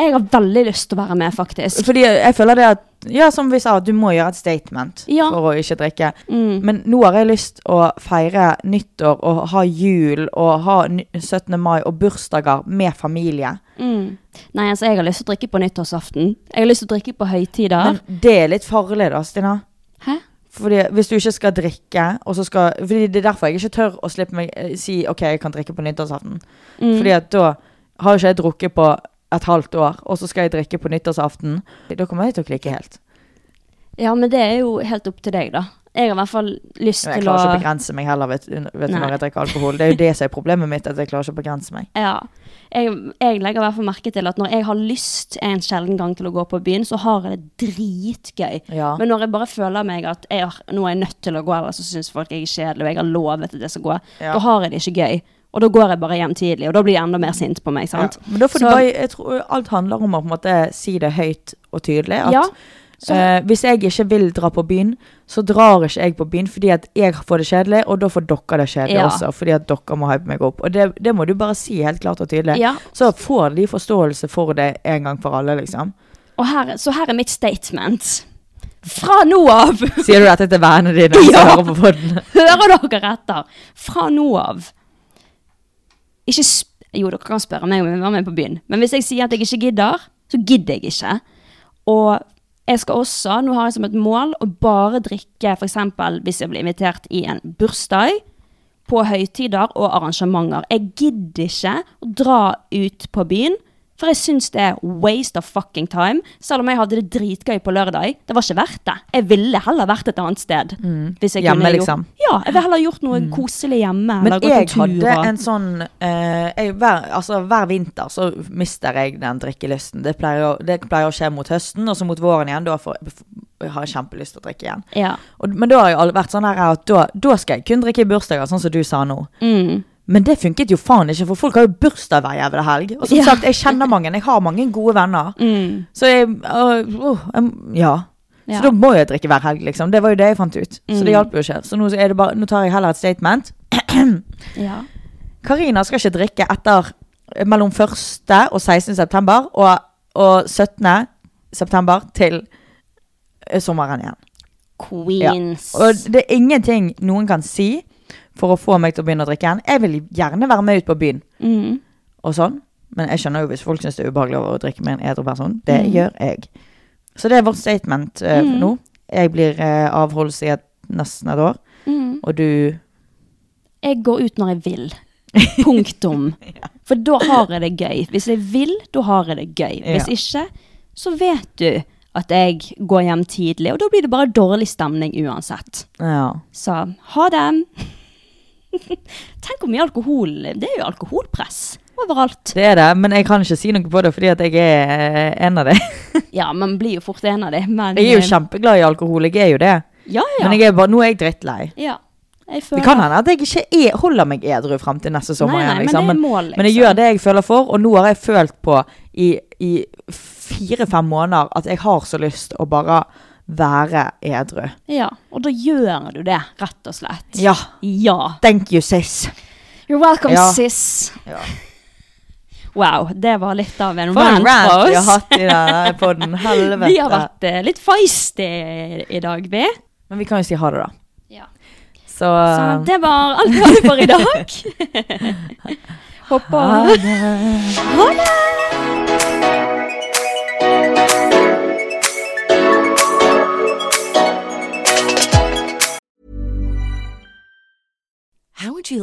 Speaker 2: Jeg har veldig lyst til å være med, faktisk.
Speaker 1: Fordi jeg føler det at Ja, som vi sa, du må gjøre et statement
Speaker 2: Ja.
Speaker 1: for å ikke drikke.
Speaker 2: Mm.
Speaker 1: Men nå har jeg lyst å feire nyttår og ha jul og ha ny- 17. mai og bursdager med familie.
Speaker 2: Mm. Nei, altså, jeg har lyst til å drikke på nyttårsaften. Jeg har lyst til å drikke på høytider.
Speaker 1: Men det er litt farlig, da, Stina.
Speaker 2: Hæ?
Speaker 1: Fordi Hvis du ikke skal drikke og så skal, Fordi Det er derfor jeg ikke tør å slippe meg eh, si OK, jeg kan drikke på nyttårsaften.
Speaker 2: Mm.
Speaker 1: Fordi at da har ikke jeg drukket på et halvt år, og så skal jeg drikke på nyttårsaften. Da kommer jeg til å klikke helt.
Speaker 2: Ja, men det er jo helt opp til deg, da. Jeg har i hvert fall lyst
Speaker 1: Jeg
Speaker 2: til
Speaker 1: klarer ikke
Speaker 2: å
Speaker 1: å begrense meg heller vet, vet du,
Speaker 2: Nei.
Speaker 1: når jeg drikker alkohol. Det er jo det som er problemet mitt, at jeg klarer ikke å begrense meg.
Speaker 2: Ja. Jeg, jeg legger i hvert fall merke til at når jeg har lyst en sjelden gang til å gå på byen, så har jeg det dritgøy.
Speaker 1: Ja.
Speaker 2: Men når jeg bare føler meg at jeg har, nå er jeg nødt til å gå, eller så syns folk jeg er kjedelig, og jeg har lovet at jeg skal gå,
Speaker 1: Ja.
Speaker 2: da har jeg det ikke gøy. Og da går jeg bare hjem tidlig, og da blir jeg enda mer sint på meg. sant?
Speaker 1: Ja. Men da får du
Speaker 2: Så-
Speaker 1: bare, jeg tror alt handler om å på en måte si det høyt og tydelig. At
Speaker 2: Ja, så-
Speaker 1: eh, hvis jeg ikke vil dra på byen, så drar ikke jeg på byen fordi at jeg får det kjedelig, og da får dere det kjedelig
Speaker 2: Ja.
Speaker 1: også. Fordi at dere må hype meg opp. Og det, det må du bare si helt klart og tydelig.
Speaker 2: Ja.
Speaker 1: Så får de forståelse for det en gang for alle, liksom.
Speaker 2: Og her, så her er mitt statement. Fra nå av
Speaker 1: Sier du dette til vennene dine som
Speaker 2: Ja.
Speaker 1: hører på podden?
Speaker 2: Hører dere etter? Fra nå av Ikke sp Jo, dere kan spørre meg om jeg vil være med på byen. Men hvis jeg sier at jeg ikke gidder, så gidder jeg ikke. Og jeg skal også, nå har jeg som et mål å bare drikke f.eks. hvis jeg blir invitert i en bursdag, på høytider og arrangementer. Jeg gidder ikke å dra ut på byen, for jeg syns det er waste of fucking time. Selv om jeg hadde det dritgøy på lørdag. Det var ikke verdt det. Jeg ville heller vært et annet sted. Hvis jeg
Speaker 1: Hjemme,
Speaker 2: kunne gjort-
Speaker 1: liksom. Mm.
Speaker 2: Ja, jeg ville heller gjort noe koselig hjemme.
Speaker 1: Men
Speaker 2: eller gått
Speaker 1: jeg
Speaker 2: en tur
Speaker 1: hadde
Speaker 2: og-
Speaker 1: en sånn eh, jeg, hver, altså, hver vinter så mister jeg den drikkelysten. Det pleier, å- det pleier å skje mot høsten, og så mot våren igjen. Da får, og jeg har kjempelyst til å drikke igjen.
Speaker 2: Ja.
Speaker 1: Og, men da har jeg al- vært sånn her at da, da skal jeg kun drikke i bursdager, sånn som du sa nå.
Speaker 2: Mm.
Speaker 1: Men det funket jo faen ikke, for folk har jo bursdag hver jævla helg. Og som
Speaker 2: Ja.
Speaker 1: sagt, jeg kjenner mange, jeg har mange gode venner.
Speaker 2: Mm.
Speaker 1: Så jeg, øh, åh, jeg ja.
Speaker 2: Ja.
Speaker 1: Så da må jeg drikke hver helg, liksom. Det var jo det jeg fant ut. Så
Speaker 2: Mm.
Speaker 1: det hjalp jo ikke. Så nå, er det bare, nå tar jeg heller et statement.
Speaker 2: ja.
Speaker 1: Karina skal ikke drikke etter eh, mellom 1. og 16. september og, og 17. september til eh, sommeren igjen.
Speaker 2: Queens.
Speaker 1: Og det er ingenting noen kan si for å få meg til å begynne å drikke igjen. Jeg vil gjerne være med ut på byen
Speaker 2: Mm.
Speaker 1: og sånn, men jeg skjønner jo hvis folk syns det er ubehagelig å drikke med en edru person. Det gjør jeg. Så det er vårt statement eh,
Speaker 2: Mm.
Speaker 1: nå. Jeg blir eh, avholds i et, nesten et år,
Speaker 2: Mm.
Speaker 1: og du
Speaker 2: Jeg går ut når jeg vil. Punktum. For da har jeg det gøy. Hvis jeg vil, da har jeg det gøy. Hvis ikke, så vet du at jeg går hjem tidlig, og da blir det bare dårlig stemning uansett.
Speaker 1: Ja.
Speaker 2: Så ha det. Tenk hvor mye alkohol Det er jo alkoholpress overalt.
Speaker 1: Det er det, men jeg kan ikke si noe på det fordi at jeg er eh, en av de.
Speaker 2: Ja, man blir jo fort en av dem, men eh,
Speaker 1: Jeg er jo kjempeglad i alkohol, jeg er jo det.
Speaker 2: Ja, ja.
Speaker 1: Men jeg er bare, nå er jeg drittlei.
Speaker 2: ja. Jeg føler
Speaker 1: Det kan hende at jeg ikke er, holder meg edru fram til neste sommer.
Speaker 2: Nei, nei,
Speaker 1: igjen,
Speaker 2: men
Speaker 1: liksom.
Speaker 2: det er mål,
Speaker 1: men jeg
Speaker 2: liksom.
Speaker 1: gjør det jeg føler for, og nå har jeg følt på i, i fire-fem måneder at jeg har så lyst å bare være edru.
Speaker 2: Ja, og da gjør du det, rett og slett.
Speaker 1: Ja.
Speaker 2: Ja.
Speaker 1: Thank you, sis.
Speaker 2: You're welcome,
Speaker 1: Ja.
Speaker 2: sis.
Speaker 1: Ja.
Speaker 2: Wow, det var litt av en
Speaker 1: For en
Speaker 2: rant fra
Speaker 1: rant vi har
Speaker 2: oss.
Speaker 1: hatt i denne podden. Helvete.
Speaker 2: Vi har vært eh, litt feisty i- i dag, vi.
Speaker 1: Men vi kan jo si ha det, da.
Speaker 2: Ja. Sånn
Speaker 1: Så,
Speaker 2: Så det var alt vi hadde for i dag. Håper Ha det!
Speaker 5: How would you